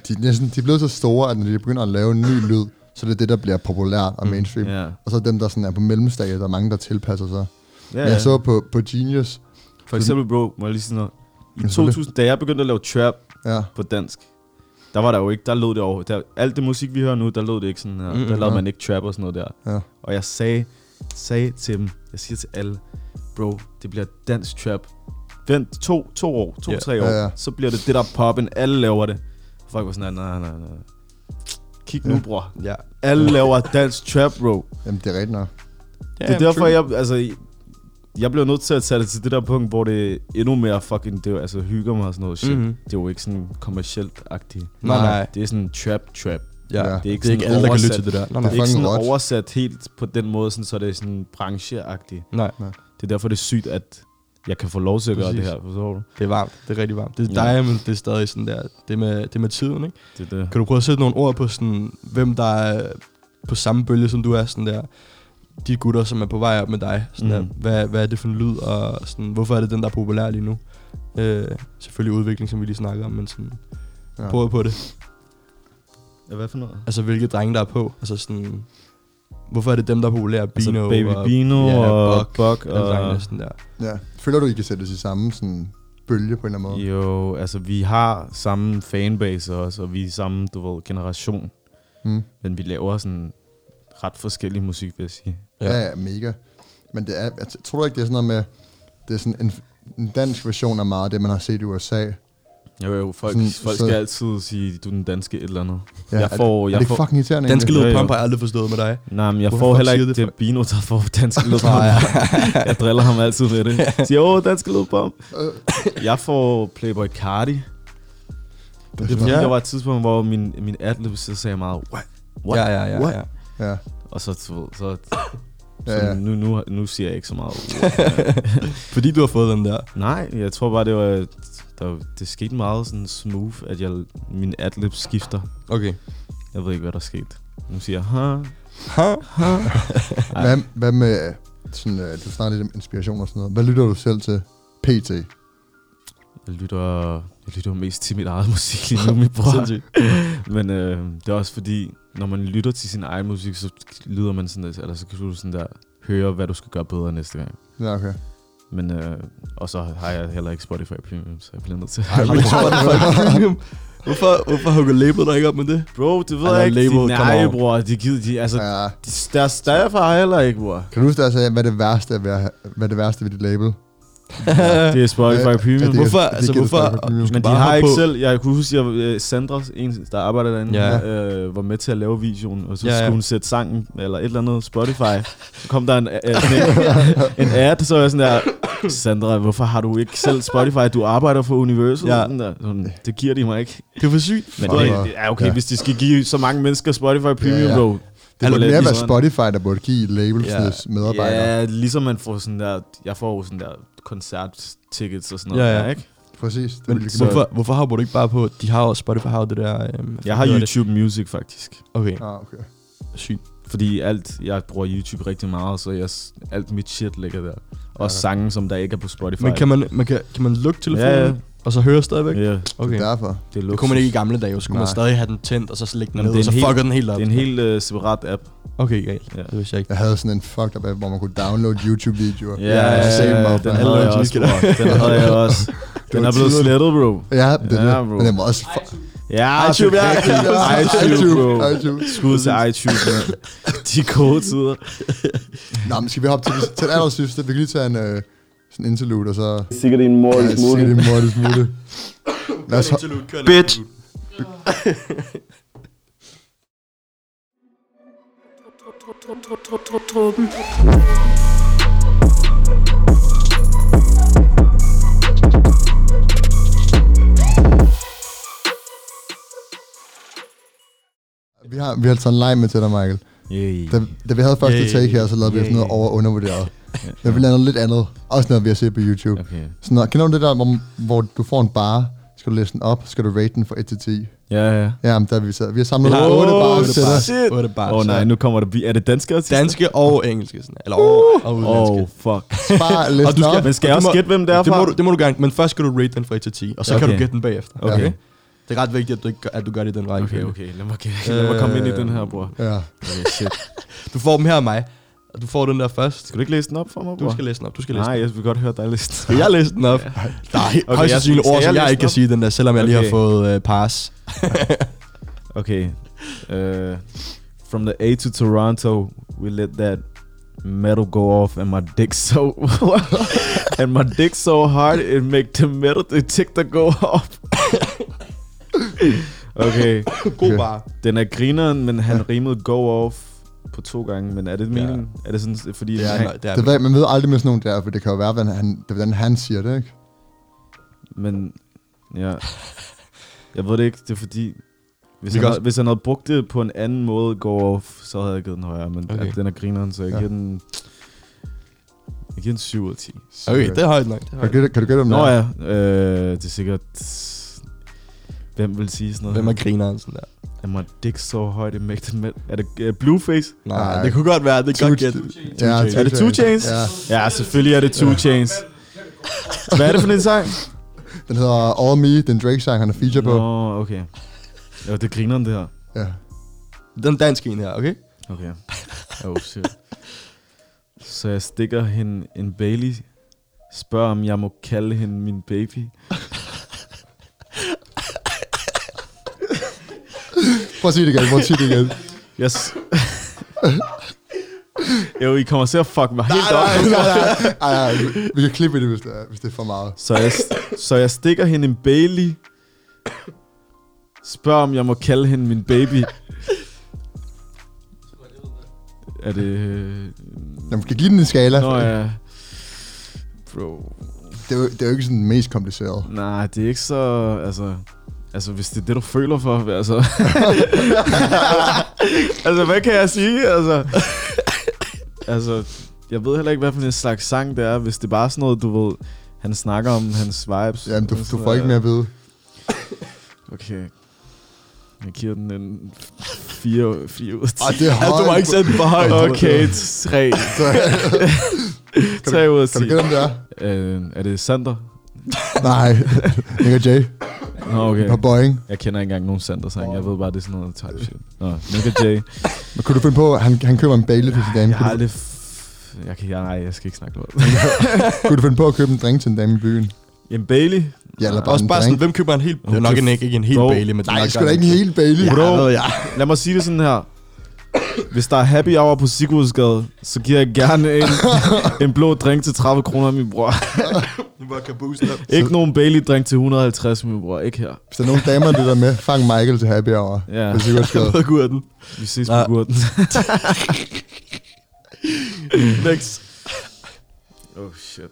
S3: de, er næsten, de er blevet så store, at når de begynder at lave en ny lyd, så er det det, der bliver populært og mainstream. Mm, yeah.
S4: Ja.
S3: Og så dem, der sådan er på mellemstadiet, der er mange, der tilpasser sig.
S4: Ja,
S3: Yeah.
S4: ja.
S3: Jeg så på, på Genius,
S4: For eksempel, bro, må jeg lige sige noget. I
S3: selvfølgelig.
S4: 2000, da jeg begyndte at lave trap
S3: ja,
S4: på dansk, der var der jo ikke, der lød det over. Der, alt det musik, vi hører nu, der lød det ikke sådan her. Mm,
S2: Mm,
S4: der lavede
S3: ja.
S4: man ikke trap og sådan noget der.
S3: Ja.
S4: Og jeg sagde, sagde til dem, jeg siger til alle, bro, det bliver dansk trap. Vent to, to år, to,
S2: Ja.
S4: yeah. tre år,
S3: Ja, ja.
S4: så bliver det det der poppen, alle laver det. Folk var sådan, nej, nej, nej. Kig nu,
S3: Ja.
S4: bror.
S2: Ja.
S4: Alle laver dansk trap, bro.
S3: jamen det er rigtigt nok.
S4: Det er derfor, jeg, altså, jeg blev nødt til at tage det til det der punkt, hvor det endnu mere fucking, det er, jo- altså, hygger mig og sådan noget shit.
S2: Mhm.
S4: Mm-hmm. Det er jo ikke sådan kommercielt-agtigt.
S2: Nej, nej.
S4: Det er sådan trap-trap.
S2: Ja.
S3: Ja.
S2: ja.
S4: Det er ikke,
S2: Det er ikke
S4: sådan
S2: alle, der kan
S4: oversat.
S2: lytte til det der. Nej,
S4: Det er
S2: nej.
S3: fucking
S4: ikke sådan
S3: råt.
S4: oversat helt på den måde, sådan, så det er sådan brancheagtigt.
S2: nej.
S4: Det er derfor, det er sygt, at jeg kan få lov til at gøre det
S2: Præcis.
S4: her. Forstår du?
S2: Det er varmt. Det er rigtig varmt. Det er
S4: Ja.
S2: dig, men det er stadig sådan der. Det er med, det er med tiden, ikke?
S4: Det er det.
S2: Kan du prøve at sætte nogle ord på, sådan, hvem der er på samme bølge, som du er? Sådan der, de gutter, som er på vej op med dig. Sådan
S4: Mhm.
S2: der, hvad, hvad er det for en lyd, og sådan, hvorfor er det den, der er populær lige nu? Øh, selvfølgelig udvikling, som vi lige snakker om, men sådan,
S3: Ja.
S2: ja. prøv på det.
S4: Ja, hvad for noget?
S2: Altså, hvilke drenge, der er på. Altså sådan, hvorfor er det dem, der er populære?
S4: Altså,
S2: Bino
S4: Baby
S2: og,
S4: Bino
S2: ja,
S4: og
S2: Buck,
S4: Buck
S2: alle drengene
S4: og...
S2: sådan der.
S3: Ja. Føler du, I kan sætte os i samme sådan, bølge på en eller anden måde?
S4: Jo, altså vi har samme fanbase også, og vi er samme, du ved, generation.
S3: Mm.
S4: Men vi laver sådan ret forskellig musik, vil jeg sige.
S2: Ja.
S3: Ja. ja, mega. Men det er, jeg t- tror du ikke, det er sådan noget med, det er sådan en, en dansk version af meget af det, man har set i USA. Ja,
S4: Jo, jo, folk,
S3: Sådan,
S4: folk
S3: så-
S4: skal altid sige, du er den danske et eller andet.
S3: Ja,
S4: jeg får,
S3: er,
S4: jeg
S3: det ikke
S4: får,
S3: fucking irriterende
S2: Danske
S3: egentlig?
S4: Ja,
S2: lyd
S4: ja.
S2: pump har jeg aldrig forstået med dig.
S4: nej, men jeg
S2: Hvorfor
S4: får heller
S2: siger
S4: ikke
S2: det
S4: det, Bino, der får dansk
S2: Nej,
S4: lydbomb. jeg driller ham altid med det. Siger, åh, dansk lydbomb.
S3: Øh.
S4: jeg får Playboy Cardi. Men det er fordi,
S2: Ja.
S4: der var et tidspunkt, hvor min, min adlib så sagde jeg meget, what? What?
S2: ja, ja, ja.
S4: What?
S2: ja.
S3: Ja,
S4: Og så, du ved, så, så
S3: ja, ja.
S4: Nu, nu, nu siger jeg ikke så meget.
S2: Fordi du har fået den der.
S4: Nej, jeg tror bare, det var... Der, det skete meget sådan smooth, at jeg, min adlib skifter.
S2: Okay.
S4: Jeg ved ikke, hvad der skete. Nu siger jeg, huh?
S2: Ha?
S3: Hvad, hvad med, sådan, øh, du snakker lidt om inspiration og sådan noget. Hvad lytter du selv til? PT.
S4: Jeg lytter, jeg lytter mest til mit eget musik lige nu, min bror.
S2: Sindssygt.
S4: Men øh, det er også fordi, når man lytter til sin egen musik, så lyder man sådan, eller så kan du sådan der høre, hvad du skal gøre bedre næste gang.
S3: Ja, okay.
S4: Men, øh, og så har jeg heller ikke Spotify Premium, så jeg bliver nødt til
S2: Ej, men jeg tror, det er for premium. Hvorfor, hvorfor har du label dig ikke op med det?
S4: Bro, det ved
S2: Ej,
S4: jeg
S2: når
S4: ikke. De,
S2: label kommer
S4: nej,
S2: over.
S4: bror. De gider, de, altså, ja.
S3: Ja.
S4: de, der større for heller ikke, bror.
S3: Kan du huske, der sagde, hvad det værste er ved, at have- hvad det værste ved dit label?
S4: Det er Spotify
S3: Ja,
S4: Premium.
S3: at det-
S2: Hvorfor-
S3: at det
S2: altså,
S3: giver det
S2: hvorfor-
S3: Spotify Premium?
S4: Men de
S2: bare
S4: har
S2: hoppe
S4: ikke
S2: på.
S4: selv, jeg kunne huske, at Sandra, en, der arbejder derinde,
S2: Ja.
S4: øh, var med til at lave videoen, og så ja,
S2: Ja, ja.
S4: skulle hun sætte sangen, eller et eller andet Spotify. Så kom der en, øh, sådan en, en ad, så var jeg sådan der, Sandra, hvorfor har du ikke selv Spotify? Du arbejder for Universal.
S2: Ja.
S4: Ja. Sådan der. Sådan, det giver de mig ikke.
S2: Det er for sygt.
S4: Men
S3: Fuck,
S4: det,
S3: hvor-
S4: det er okay,
S3: ja.
S4: ja. hvis de skal give så mange mennesker Spotify Premium,
S3: Ja,
S4: ja,
S3: ja.
S4: ja. bro.
S3: Det burde mere være Spotify, der burde give labelsnes
S2: Ja.
S3: medarbejdere.
S4: Ja, ligesom man får sådan der, jeg får jo sådan der koncerttickets og sådan noget
S2: Ja, ja.
S4: der, ikke?
S3: Præcis. Det
S2: Men
S3: ville de
S2: hvorfor, hvorfor hopper du ikke bare på, de har jo Spotify, har jo det der... Øhm, hvad
S4: Jeg har
S2: hedder
S4: YouTube Music faktisk.
S2: Det? Okay,
S3: kunne- Ah, okay.
S2: sygt.
S4: Fordi alt, jeg bruger YouTube rigtig meget, så jeg, s- alt mit shit ligger der. Og ja. sange, som der ikke er på Spotify.
S2: Men kan man, man kan, kan man lukke telefonen,
S4: Ja,
S2: ja,
S4: ja.
S2: ja. og så høre stadigvæk?
S4: Ja,
S2: Okay.
S3: Derfor.
S4: det er luksus.
S2: Det kunne man ikke i gamle dage, jo. Skulle man
S3: Nej.
S2: stadig have den tændt, og så slække den
S4: Jamen, det
S2: ned,
S4: er
S2: og så
S4: en helt-
S2: fucker den helt op.
S4: Det er en helt øh, separat app.
S2: Okay, galt.
S4: Ja.
S2: Ja. Det vidste jeg ikke.
S3: Jeg havde sådan en fucked up app, hvor man kunne downloade YouTube-videoer.
S4: Ja, ja, ja den
S3: havde
S4: havde jeg også, bro. Den havde jeg også. Den
S3: var
S4: er blevet
S3: tidligt.
S4: slettet, bro.
S3: Ja, det,
S4: Ja,
S3: ja
S4: bro.
S3: men den var også... fu-
S4: Ja,
S3: iTunes,
S4: ja. iTunes,
S3: iTunes,
S4: bro.
S3: iTunes.
S4: Skud til iTunes, man. De gode tider.
S3: Nå, men skal vi hoppe til, det- til det aller sidste? Vi kan lige tage en øh, sådan interlude, og så...
S5: Sikkert en
S3: Ja,
S5: mor i
S3: se det
S5: smule.
S3: mordes mulle. Lad os, ho-
S2: Absolut,
S9: Bitch,
S1: Dråben.
S3: Vi har, vi har altså en leg med til dig, Michael.
S4: Yeah.
S3: Da, da vi havde første
S2: Yay.
S3: take her, så lavede vi sådan noget
S4: Yay.
S3: over- og undervurderet. Men vi lavede noget lidt andet. Også noget, vi har set på YouTube.
S4: Okay.
S3: Sådan noget, kender du det der, hvor, hvor du får en bar, skal du læse den op, skal du rate den fra 1 til 10?
S4: Ja, ja.
S3: Ja, men der har vi, så, vi har samlet
S2: Vi har
S3: otte
S2: otte
S3: bars
S2: bars.
S3: til dig.
S4: Shit.
S2: Åh, det er bare
S4: Åh oh, nej, nu kommer det. Er det danske artister?
S2: Danske og engelske. Sådan. Eller og, Uh! og
S4: Åh,
S2: udenlandske.
S4: oh, fuck.
S3: Bare læs
S2: Og du
S3: den op.
S2: skal-
S4: Men skal
S2: Og
S4: jeg
S2: du
S4: også
S2: må-
S4: gætte, hvem det er
S2: Det
S4: fra?
S2: må, du, det må du gerne, men først skal du rate den fra 1 til 10, og så okay. kan du
S4: Okay.
S2: gætte den bagefter.
S4: Okay.
S2: Det er ret vigtigt, at du, ikke, gør- at du gør det i den række.
S4: Okay, okay. Lad mig, gæ- lad mig komme ind i den her, bror.
S3: Ja.
S4: Okay, shit.
S2: Du får dem her af mig, og du får den der først.
S4: Skal du ikke læse den op for mig, bror?
S2: Du skal læse den op. Du skal læse
S4: Nej,
S2: den.
S4: jeg vil godt høre dig læse den.
S2: Skal jeg læse den op? Nej, okay, højst
S4: jeg-
S2: sandsynligt
S4: skal
S2: ord,
S4: jeg
S2: som jeg
S4: læse
S2: ikke
S4: den
S2: kan
S4: op?
S2: sige den der, selvom jeg lige har
S4: Okay.
S2: fået øh, pass.
S4: Okay. Uh, from the A to Toronto, we let that metal go off, and my dick so and my dick so hard it make the metal detector go off. okay,
S2: God bare.
S4: den er grineren, men han rimede go off på to gange, men er det meningen? Er det sådan, fordi...
S2: Ja,
S4: han,
S2: nej, det er
S3: Det ved, man ved aldrig med sådan nogle der, for det kan jo være, hvordan han, det, er, hvordan han siger det, ikke?
S4: Men ja, jeg ved det ikke, det er fordi, hvis,
S2: Vi
S4: han,
S2: kan
S4: havde,
S2: også-
S4: hvis han havde brugt det på en anden måde go off, så havde jeg givet den højere, men
S2: Okay.
S4: okay. den er grineren, så jeg
S3: Ja.
S4: ja. giver den... Jeg giver den 7 ud af 10.
S2: Okay, det er højt nok. Det er
S3: Kan du
S2: højt.
S3: gætte, kan du gætte om
S4: Nå
S3: det?
S4: ja, øh, det er sikkert... Hvem vil sige sådan noget?
S2: Hvem er grineren sådan der?
S4: Er man dick så højt i mægten med? Er det øh, Blueface?
S2: Nej,
S3: Nej.
S2: det kunne godt være, det kan godt gætte.
S3: Ja,
S4: Er det Two Chainz?
S3: Ja.
S4: Ja, selvfølgelig er det Two Chainz. Hvad er det for en sang?
S3: Den hedder All Me, den Drake-sang, han er feature på.
S4: Nå, okay. Jo, det griner det her.
S3: Ja.
S2: Den danske en her, okay?
S4: Okay. Oh, shit. Så jeg stikker hende en Bailey, spørger om jeg må kalde hende min baby.
S3: Prøv at sige det igen, prøv at sige det igen.
S4: Jeg s- jo, I kommer til at fuck mig helt
S3: Nej,
S4: op.
S3: nej, nej. Ej, ej, vi- vi kan klippe i det, hvis det er, hvis det er for meget.
S4: Så jeg, s- så jeg stikker hende en Bailey, spørger om jeg må kalde hende min baby. Er det... øh,
S3: Jamen, skal give den en skala.
S4: Nå ja. Bro.
S3: Det, er jo, det er jo ikke sådan den mest komplicerede.
S4: Nej, det er ikke så... Altså, altså hvis det er det, du føler for, altså... altså, hvad kan jeg sige? Altså, altså, jeg ved heller ikke, hvad for en slags sang det er, hvis det er bare sådan noget, du ved, han snakker om hans vibes.
S3: Jamen, du,
S4: og
S3: du
S4: sådan
S3: får ikke mere
S4: noget.
S3: at vide.
S4: Okay. Jeg giver den en 4, 4 ud af 10.
S3: Ej, det er
S2: Altså, du må
S3: højt.
S2: ikke sætte den for højt.
S4: Okay, 3. 3 ud af
S3: Kan du gætte, om det er?
S4: 10. Øh, er det Sander?
S3: Nej. Nick og Jay
S4: Nå, okay.
S3: på Boeing.
S4: Jeg kender ikke engang nogen Sander-sang. Jeg ved bare, det er sådan noget type shit. Nå, Nick og Jay.
S3: Men kunne du finde på, han, han køber en Bailey til sin dame.
S4: Jeg har
S3: Kunne du,
S4: aldrig... F- jeg kan, jeg, nej, jeg skal ikke snakke noget.
S3: kunne du finde på at købe en drink til en dame i byen?
S4: Jamen, Bailey.
S3: Ja, eller bare
S2: Også
S3: en
S2: bare sådan,
S3: drink.
S2: hvem køber en helt... Det er nok en, ikke, ikke en helt
S4: Dog.
S2: Bailey, men det er
S3: Nej,
S2: nok
S3: sgu
S2: godt
S3: da ikke en hel Bailey.
S2: Ja,
S4: Bro.
S2: ved jeg.
S4: Lad mig sige det sådan her. Hvis der er happy hour på Sigurdsgade, så giver jeg gerne en, en blå drink til 30 kroner, min bror.
S2: Nu var kaboosen op.
S4: Ikke nogen Bailey-drink til 150, min bror. Ikke her.
S3: Hvis der er nogle damer, der er med, fang Michael til happy hour.
S4: Ja,
S3: Hvis I godt skal.
S2: Hvad gud er den?
S4: vi ses
S2: Nej.
S4: på gurten.
S2: Next.
S4: Oh, shit.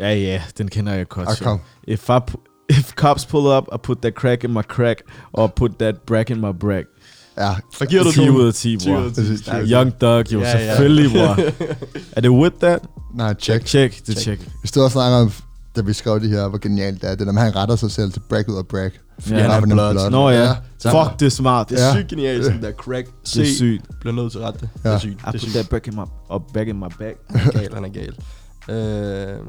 S4: Ja, ja, den kender jeg godt.
S3: Ah,
S4: jo.
S3: kom.
S4: If I pu- if cops pull up, I put that crack in my crack, or put that brack in my brack.
S3: Ja,
S2: Så giver du
S4: 10
S2: den.
S4: ud af 10, bror.
S3: præcis.
S4: Young Thug, jo,
S2: Ja,
S4: ja,
S2: ja.
S4: selvfølgelig, bror. er det with that?
S3: Nej, check.
S4: Check, det er check.
S3: Vi stod og snakkede om, da vi skrev det her, hvor genialt det er. Det er, når han retter sig selv til break ud af break.
S4: Ja.
S3: Bare fordi han er
S2: blot.
S3: blot.
S4: Nå ja,
S2: tak.
S4: fuck, det er smart.
S2: Det er
S3: Ja.
S2: sygt genialt, sådan der crack. Se,
S4: Det er sygt.
S2: bliver nødt til at rette det. Det
S3: Ja.
S2: er sygt.
S4: I
S2: Det er
S4: put
S2: sygt.
S4: that back in my, up back in my back.
S2: Han er gal, han er gal. Øh,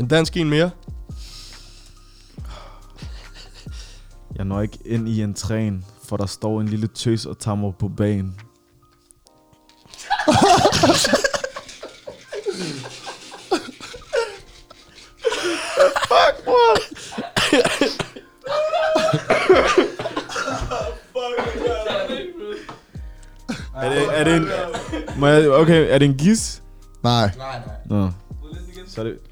S2: en dansk en mere.
S4: Jeg når ikke ind i en træn, for der står en lille tøs og tager mig på banen. fuck, bror! er det, er det en... Må jeg, okay, er det en gis?
S3: Nej,
S4: Nå. Så er det...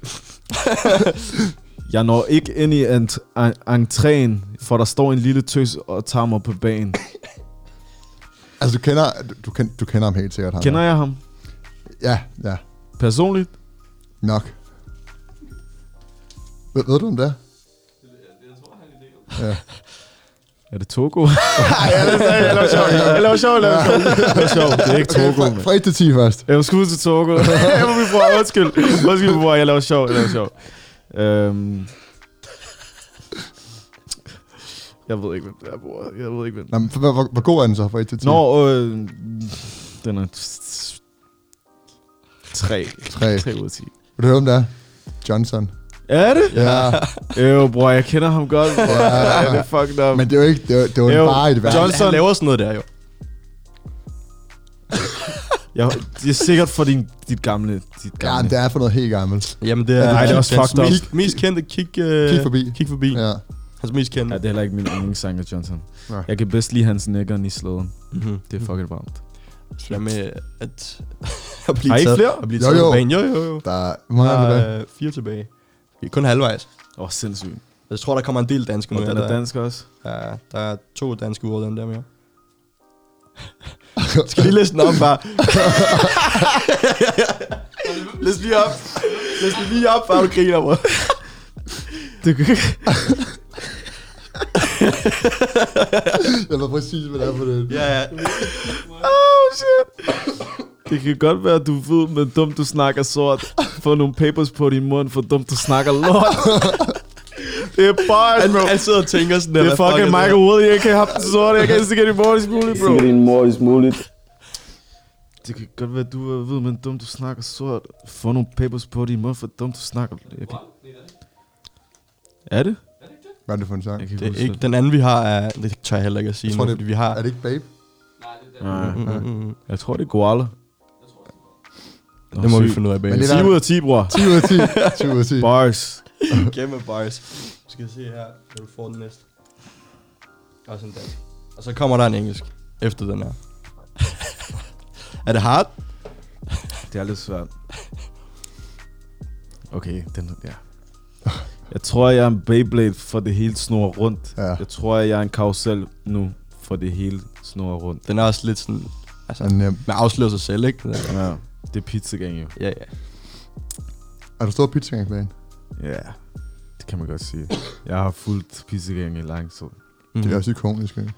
S4: Jeg når ikke ind i ent- en- entréen, for der står en lille tøs og tager mig på banen.
S3: Altså, du kender, du, du, kender, du kender ham helt sikkert. Ham
S4: Kender jeg ham?
S3: Ja, ja.
S4: Personligt?
S3: Nok. Ved, ved du, om det er?
S4: Er det Togo? Nej, jeg laver sjov. Jeg laver sjov, jeg laver sjov. Jeg laver sjov. Det er ikke Togo,
S3: fra,
S4: mand.
S3: fra 1 til 10 først.
S4: Jeg vil skud til Togo. Jeg må vi bruge. Undskyld. Undskyld, bror. Jeg laver sjov. Jeg laver sjov. Øhm. Jeg ved ikke, hvem det er, bror. Jeg ved ikke, hvem
S3: Nå, men, hvor, hvor, hvor, god er den så fra 1 til 10?
S4: Nå, øh, den er 3.
S3: 3.
S4: 3 ud af 10.
S3: Vil du høre, om det er? Johnson.
S4: Er det?
S3: Ja.
S4: Jo, Øh, bror, jeg kender ham godt. Bror. Ja, det er fucked up.
S3: Men det var ikke, det var, det var
S4: Jo,
S3: bare et værk.
S4: Johnson-
S2: Han laver sådan noget der jo.
S4: Jeg, det er sikkert for din, dit gamle... Dit
S3: Ja,
S4: gamle.
S3: det er for noget helt gammelt.
S2: Jamen det er...
S4: Ej, det er også
S2: hans
S4: fucked up.
S2: Mest, mest kendte kick... Øh,
S3: Kig forbi.
S2: Kig forbi. Ja.
S3: Ja.
S2: Hans mest kendte.
S4: Ja, det er heller ikke min yndlingssang af Johnson.
S3: Nej.
S4: Jeg kan bedst lide hans nækkeren i slæden.
S2: Mm-hmm.
S4: Det er fucking varmt.
S2: Det der med at... at blive
S4: Har I ikke
S2: taget,
S4: flere?
S2: At blive
S3: Jo,
S2: taget
S3: jo.
S2: på banen. Jo, jo, jo.
S3: Der er, hvor mange er det?
S2: Der er øh, fire tilbage. Vi er kun halvvejs.
S4: Åh, oh, sindssygt.
S2: Jeg tror, der kommer en del danske
S4: Og
S2: nu.
S4: den er dansk også.
S2: Ja, der er to danske ord, den der mere. Skal lige læse den op, bare? læs lige op. Læs den lige op, bare du griner, bror.
S4: Du kan
S3: Jeg ved præcis, hvad det er for det.
S2: Ja, ja.
S4: Oh, shit. Det kan godt være, at du ved, men dumt du snakker sort. Få nogle papers på din mund, for dumt du snakker lort. det er bars, bro.
S2: Han, han sidder og tænker sådan der.
S4: Det er
S2: hvad
S4: fucking
S2: fuck
S4: Michael Woody, jeg kan have den sorte, jeg kan ikke sikkert i morges muligt, bro.
S5: Sikkert en mor is muligt.
S4: Det kan godt være, du øh, ved, men dumt du snakker sort. Få nogle papers på din mund, for dumt du snakker... Jeg kan... Er det?
S3: Hvad er det for en sang?
S4: Jeg kan
S2: Det er
S4: huske
S2: ikke, den anden, vi har, er... Det tør jeg heller ikke at sige
S3: Jeg tror,
S2: nu,
S3: det-
S2: fordi vi har...
S3: Er det ikke Babe?
S4: Nej,
S2: Mm, mm, mm.
S4: jeg tror, det er Koala.
S2: Det må vi finde ud af
S3: Men
S2: bagefter.
S3: det er
S4: 10 ud af 10, bror.
S3: 10 ud af 10. 10 ud af 10.
S4: Bars.
S2: Kæmpe bars. Vi skal se her, når du får den næste. Også en dansk. Og så kommer der en engelsk efter den her. er det hard?
S4: Det er lidt svært. Okay, den ja. Jeg tror, jeg er en Beyblade, for det hele snor rundt.
S3: Ja.
S4: Jeg tror, jeg er en karusel nu, for det hele snor rundt.
S2: Den er også lidt sådan... Altså,
S3: Den er nem.
S2: man afslører sig selv, ikke? Den er-
S4: Ja. Det er pizzagang, jo.
S2: Ja, ja.
S3: Er du stor pizzagang-fan?
S4: Ja, det kan man godt sige. Jeg har fulgt pizzagang i lang tid.
S3: Det er også ikonisk, ikke?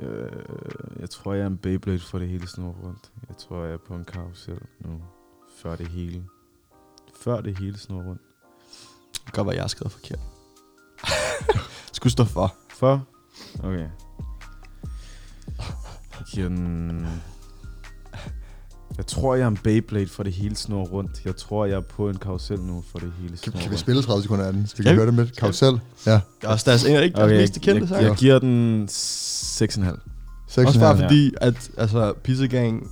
S4: Øh, jeg tror, jeg er en Beyblade for det hele snor rundt. Jeg tror, jeg er på en karusel nu. Før det hele. Før det hele snor rundt.
S2: Det kan godt være, jeg har skrevet forkert. Skulle stå for.
S4: For? Okay. Jeg giver den... Jeg tror, jeg er en Beyblade for det hele snor rundt. Jeg tror, jeg er på en karusel nu for det hele
S3: Kan,
S4: snor
S3: kan vi
S4: rundt.
S3: spille 30 sekunder af den? Skal vi
S2: Skal vi?
S3: høre det med? Karusel? Ja.
S2: Det er også deres, en, ikke deres okay, mest kendte sang.
S4: jeg, jeg giver den 6,5.
S3: 6
S2: Også bare
S4: Ja.
S2: fordi, at altså, Pizza Gang...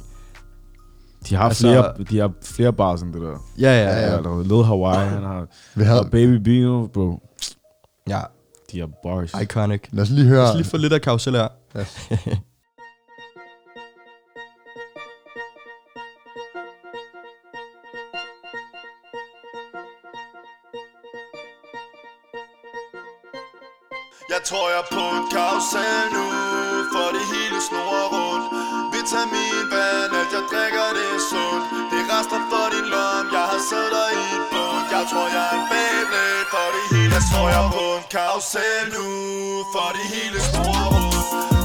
S4: De har,
S2: Altså-
S4: altså, flere, de har flere bars end det der.
S2: Ja, ja, ja.
S4: Ja, ja. Led Hawaii, han har...
S3: Vi havde,
S4: Og Baby Bino, bro.
S2: Ja,
S4: De har bars.
S2: iconic.
S3: lad os lige høre.
S2: Lad os lige få lidt af karusel her.
S9: Jeg tror jeg er på en karusel nu For det hele snor rundt Vitaminvand, alt jeg drikker det er sundt Det rester for din lom, jeg har sæder i bund Jeg tror jeg er en Beyblade for det hele Jeg tror jeg er på en karusel nu For det hele snor rundt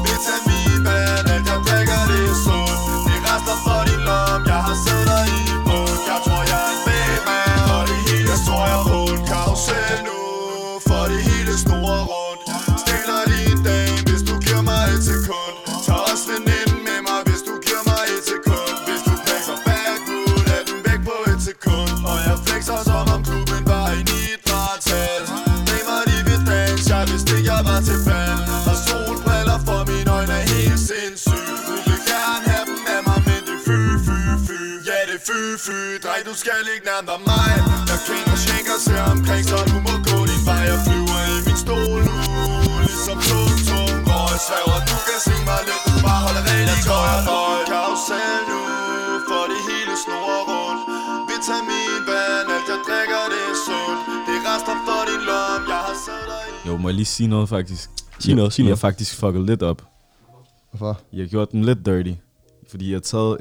S9: Vitaminvand, alt jeg drikker det er sundt Det rester for din lom, jeg har sæder i bund Jeg tror jeg er en Beyblade for det hele Jeg tror jeg er på en karusel nu for det hele store rundt Stiller lige dagen, hvis du giver mig et sekund Tag også veninden med mig, hvis du giver mig et sekund Hvis du flexer back ud, er den væk på et sekund Og jeg flexer som om klubben var en idrætshal Damer de vil danse, jeg vidste ikke jeg var til fald Og solbriller for mine øjne er helt sindssygt Du vil gerne have dem af mig, men det er fy, fy, fy Ja, det er fy, fy, drej, du skal ikke nærmere mig Jeg kender skænker, ser omkring, så du må gå din vej Jeg flyver i min stol nu, ligesom tung, tung røg Svæver, du kan se mig lidt, du bare holder rent Jeg tror, jeg røg karusel nu, for det hele snor rundt Vitaminvand, alt jeg drikker, det er sundt Det rester for din
S4: Jo, må jeg lige sige noget faktisk?
S2: Sig noget, sig
S4: Jeg har
S2: noget.
S4: faktisk fucket lidt op.
S3: Hvorfor?
S4: Jeg har gjort den lidt dirty. Fordi jeg har taget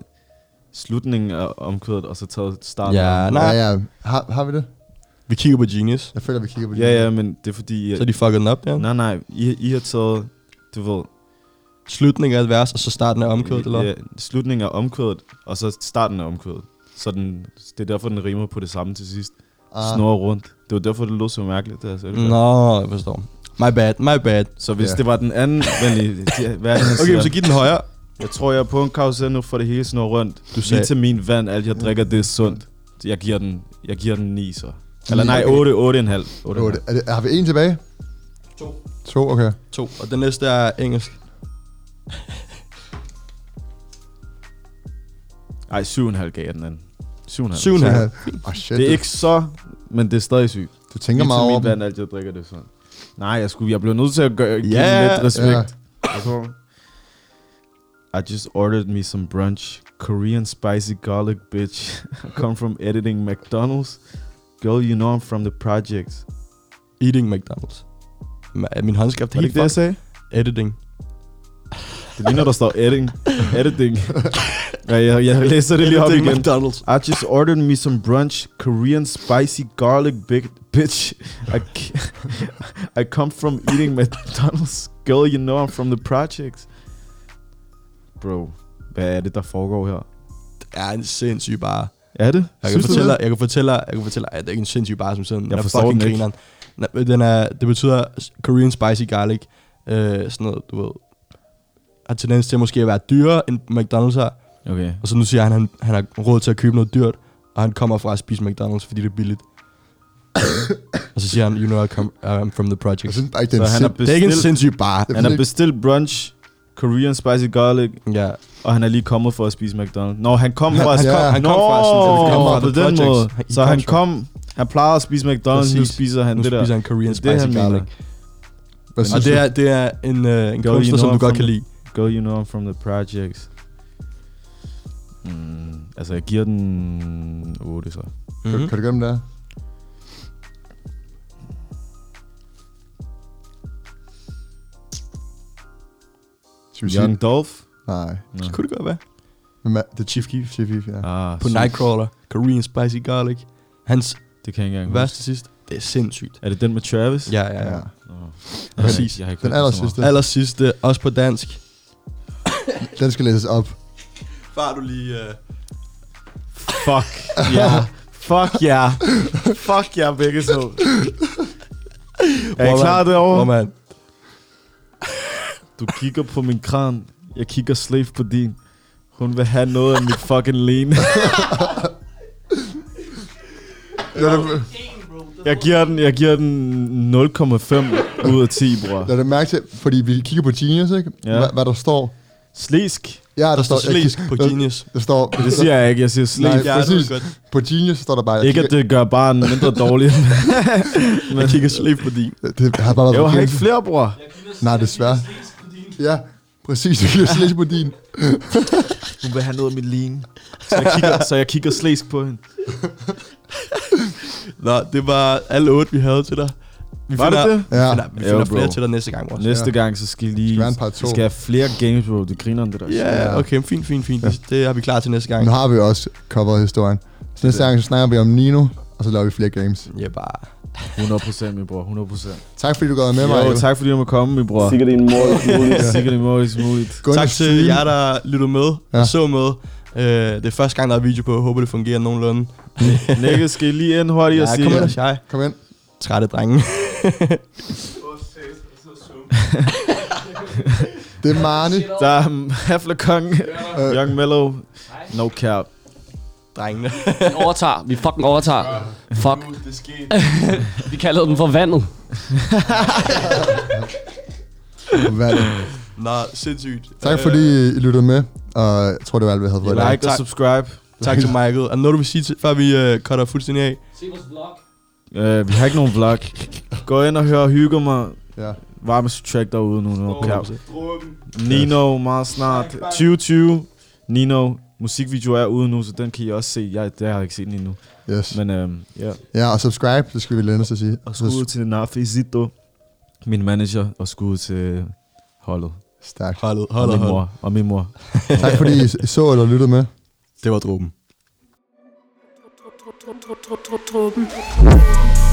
S4: slutningen af omkvædet, og så taget starten. af
S2: Ja,
S4: omkvædet.
S3: Nej.
S2: nej.
S3: Ja, ja. Har, har vi det?
S2: Vi kigger på Genius.
S3: Jeg føler, vi kigger på det.
S4: ja, ja, men det er fordi... Jeg,
S2: Så de fuckede den op, ja.
S4: Nej, nej, I, I har taget, du ved...
S2: Slutningen af et vers, og så starten af omkødet, eller?
S4: ja, slutningen af omkvædet, og så starten af omkvædet. Så den, det er derfor, den rimer på det samme til sidst. Ah.
S3: Ah.
S4: Snor rundt. Det var derfor, det lød så mærkeligt, da jeg sagde det. før.
S2: Nå, jeg forstår. My bad, my bad.
S4: Så hvis
S3: Ja.
S4: det var den anden... Vent lige, de- hvad er det, han
S2: Okay,
S4: siger?
S2: så giv den højere.
S4: Jeg tror, jeg er på en karusel nu, for det hele snor rundt. Du
S2: sagde-
S4: Vitamin, vand, alt jeg drikker, det er sundt. Så Jeg giver den, jeg giver den 9, så. Eller
S3: Ni,
S4: nej,
S3: okay.
S4: 8, 8,5.
S3: Jo, det- Er det, har vi en tilbage?
S2: To.
S3: To, okay.
S2: To. Og den næste er engelsk.
S4: Nej, 7,5 gav jeg den anden. 7,5.
S2: Syv og en
S3: Så
S2: halv.
S3: her- Åh, oh, shit.
S4: Det er ikke så, men det er stadig sygt.
S3: du, du tænker meget over
S4: Vitamin,
S3: dem.
S4: vand, alt jeg drikker, det er sundt. Nej, jeg, skulle, jeg blev nødt til at gøre, give
S2: Ja,
S4: yeah, lidt
S3: Ja.
S4: respekt. Yeah. I just ordered me some brunch. Korean spicy garlic, bitch. I come from editing McDonald's. Girl, you know I'm from the projects.
S2: Eating McDonald's. Ma- Min håndskrift er
S4: Var det
S2: helt
S4: ikke det, jeg
S2: fucked.
S4: sagde?
S2: Editing.
S4: Det ligner, der står editing. editing. Ja, jeg, jeg læser det lige op igen.
S2: McDonald's.
S4: I just ordered me some brunch, Korean spicy garlic big bitch. I, c- I come from eating McDonald's. Girl, you know I'm from the projects. Bro, hvad er det, der foregår her?
S2: Det er en sindssyg bare.
S4: Er det?
S2: Jeg kan,
S4: Synes du
S2: fortælle,
S4: det?
S2: jeg kan fortælle, jeg kan fortælle, at det er ikke en sindssyg bar som sådan. Den
S4: Jeg
S2: er
S4: forstår
S2: fucking
S4: den ikke.
S2: grineren. Den er- Den er, det betyder Korean spicy garlic. Øh, sådan noget, du ved. Har tendens til måske at være dyrere, end McDonald's har.
S4: Okay.
S2: Og så nu siger han, han, han har råd til at købe noget dyrt, og han kommer fra at spise McDonald's, fordi det er billigt. og så siger han, you know, I come, I'm from the
S3: Jeg
S2: project.
S3: synes bare ikke, det er
S4: Så
S3: en
S4: han
S3: sind...
S4: har
S2: Det er ikke en
S4: bestilt,
S2: sindssyg bar.
S4: han har bestilt brunch, Korean spicy garlic,
S2: Ja.
S4: og han er lige kommet for at spise McDonald's. Nå, han kom fra...
S3: han kom-
S2: han kom fra sådan-
S4: Nå,
S2: han kom fra
S4: på
S2: The
S4: den måde.
S2: Projects. Han-
S4: Så
S2: he
S4: han
S2: comes from-
S4: kom... Han plejer at spise McDonald's, nu
S2: Præcis.
S4: spiser han
S2: Nu
S4: det der.
S2: spiser han Korean
S4: Det er det,
S2: spicy
S4: han
S2: garlic.
S4: mener.
S3: Hvad
S2: Og
S3: synes
S2: det
S3: du?
S2: er, det er en, øh, en
S4: Girl, you
S2: kunstner,
S4: know
S2: som du
S4: I'm
S2: godt
S4: from-
S2: kan lide.
S4: Girl, you know I'm from the projects. Mm, altså, jeg giver den 8 så.
S3: Kan,
S2: Mm-hmm.
S3: kan du gøre dem der? Skal vi sige?
S4: Young Dolph?
S3: Nej.
S2: Så kunne det godt være.
S3: Hvem er- Det er Chief Keef. Chief Keef, ja.
S4: Ah,
S2: På
S4: sygt.
S2: Nightcrawler, Korean spicy garlic. Hans
S4: Det kan jeg ikke engang
S2: vers
S4: huske.
S2: til sidst, det er sindssygt.
S4: Er det den med Travis?
S2: Ja, ja, ja.
S3: ja.
S4: Jeg har ikke-
S2: præcis.
S4: Jeg har ikke
S3: Den
S4: hørt
S3: aller
S4: så meget.
S3: sidste.
S2: Aller sidste, også på dansk.
S3: Den skal læses op.
S2: Far du lige... Uh...
S4: Fuck, ja. Fuck, ja. Fuck, ja, begge så. Er I klar derovre?
S2: Hvor man,
S4: Du kigger på min kran. Jeg kigger slave på din. Hun vil have noget af mit fucking len.
S3: Lad det,
S4: Jeg giver den, jeg giver den 0,5 ud af 10, bror.
S3: lad det mærke til, fordi vi kigger på Genius, ikke?
S4: Ja.
S3: Hva, hvad der står.
S4: Slesk.
S3: Ja, der, står...
S2: står slæs på
S3: der,
S2: Genius.
S3: der står...
S4: Det siger jeg ikke, jeg siger slesk.
S2: Ja,
S3: Nej,
S2: det er
S3: præcis.
S2: godt.
S3: På Genius står der bare... Jeg
S4: Ikke at
S3: kigger,
S4: det gør barn mindre dårlig. men jeg kigger sleep på din.
S3: det, har bare været
S4: Jeg har
S3: forkert.
S4: ikke flere, bror.
S3: Nej, desværre. Ja, præcis. Jeg kigger slæs på din.
S4: Hun vil have noget af mit lean. Så jeg kigger, så jeg kigger slæsk på hende.
S2: Nå, det var alle otte, vi havde til dig. Vi
S4: Var det
S2: finder,
S4: det?
S3: Ja.
S2: Ja. Finder, vi
S4: Jo,
S2: finder
S4: bro.
S2: flere til dig næste gang også.
S4: Næste gang, så skal I lige...
S3: Skal være en par to.
S4: skal jeg have flere games, bro. Det griner om det der.
S2: Ja, yeah, okay, fint, fint, fint. Det, det har vi klar til næste gang.
S3: Nu har vi også coveret historien. Så næste gang så snakker vi om Nino, og så laver vi flere games.
S2: Ja, bare.
S4: 100% min bror, 100%.
S3: Tak fordi du gad med mig.
S4: Jo,
S3: Abel.
S4: tak fordi du måtte komme, min bror.
S5: Sikkert en morgens mulighed.
S4: Sikkert i morges muligt.
S3: Gå ind
S2: Tak
S3: og stream.
S2: til jer, der lyttede med
S3: Ja.
S2: og så med. Øh, det er første gang, der er video på. Håber, det fungerer nogenlunde.
S4: Nikke, skal I lige ind hurtigt og
S2: Ja,
S4: sige...
S2: kom ind og
S3: Kom ind.
S2: Trætte drenge.
S3: Det er Marne.
S4: Der er Hafle Kong, Young Mellow, No Cap.
S2: Drengene.
S10: Vi overtager. Vi fucking overtager. Fuck. Vi kaldede dem for vandet.
S3: Hvad?
S2: Nå, sindssygt. Øh,
S3: Tak fordi I lyttede med, og jeg tror, det var alt, vi havde fået i dag.
S4: Like og
S2: tak.
S4: subscribe.
S2: Tak til Michael. Og noget, du vil sige, til, før vi øh, cutter fuldstændig af?
S10: Se vores vlog.
S4: Uh, vi har ikke nogen vlog. Gå ind og hør Hygge mig.
S3: Ja.
S4: Varmeste track derude nu. No cap. Nino meget snart. 2020. Nino. Musikvideo er ude nu, så den kan I også se. Jeg, det har jeg ikke set den endnu.
S3: Yes.
S4: Men øhm, ja.
S3: Ja, og subscribe, det skal vi lænde os at sige.
S4: Og skud ud til Nafi Zito. min manager, og skud til holdet.
S3: Stærkt.
S2: Holdet,
S4: og min mor. Og min mor.
S3: Tak fordi I s- så eller lyttede med.
S2: Det var dråben.
S1: Dråben.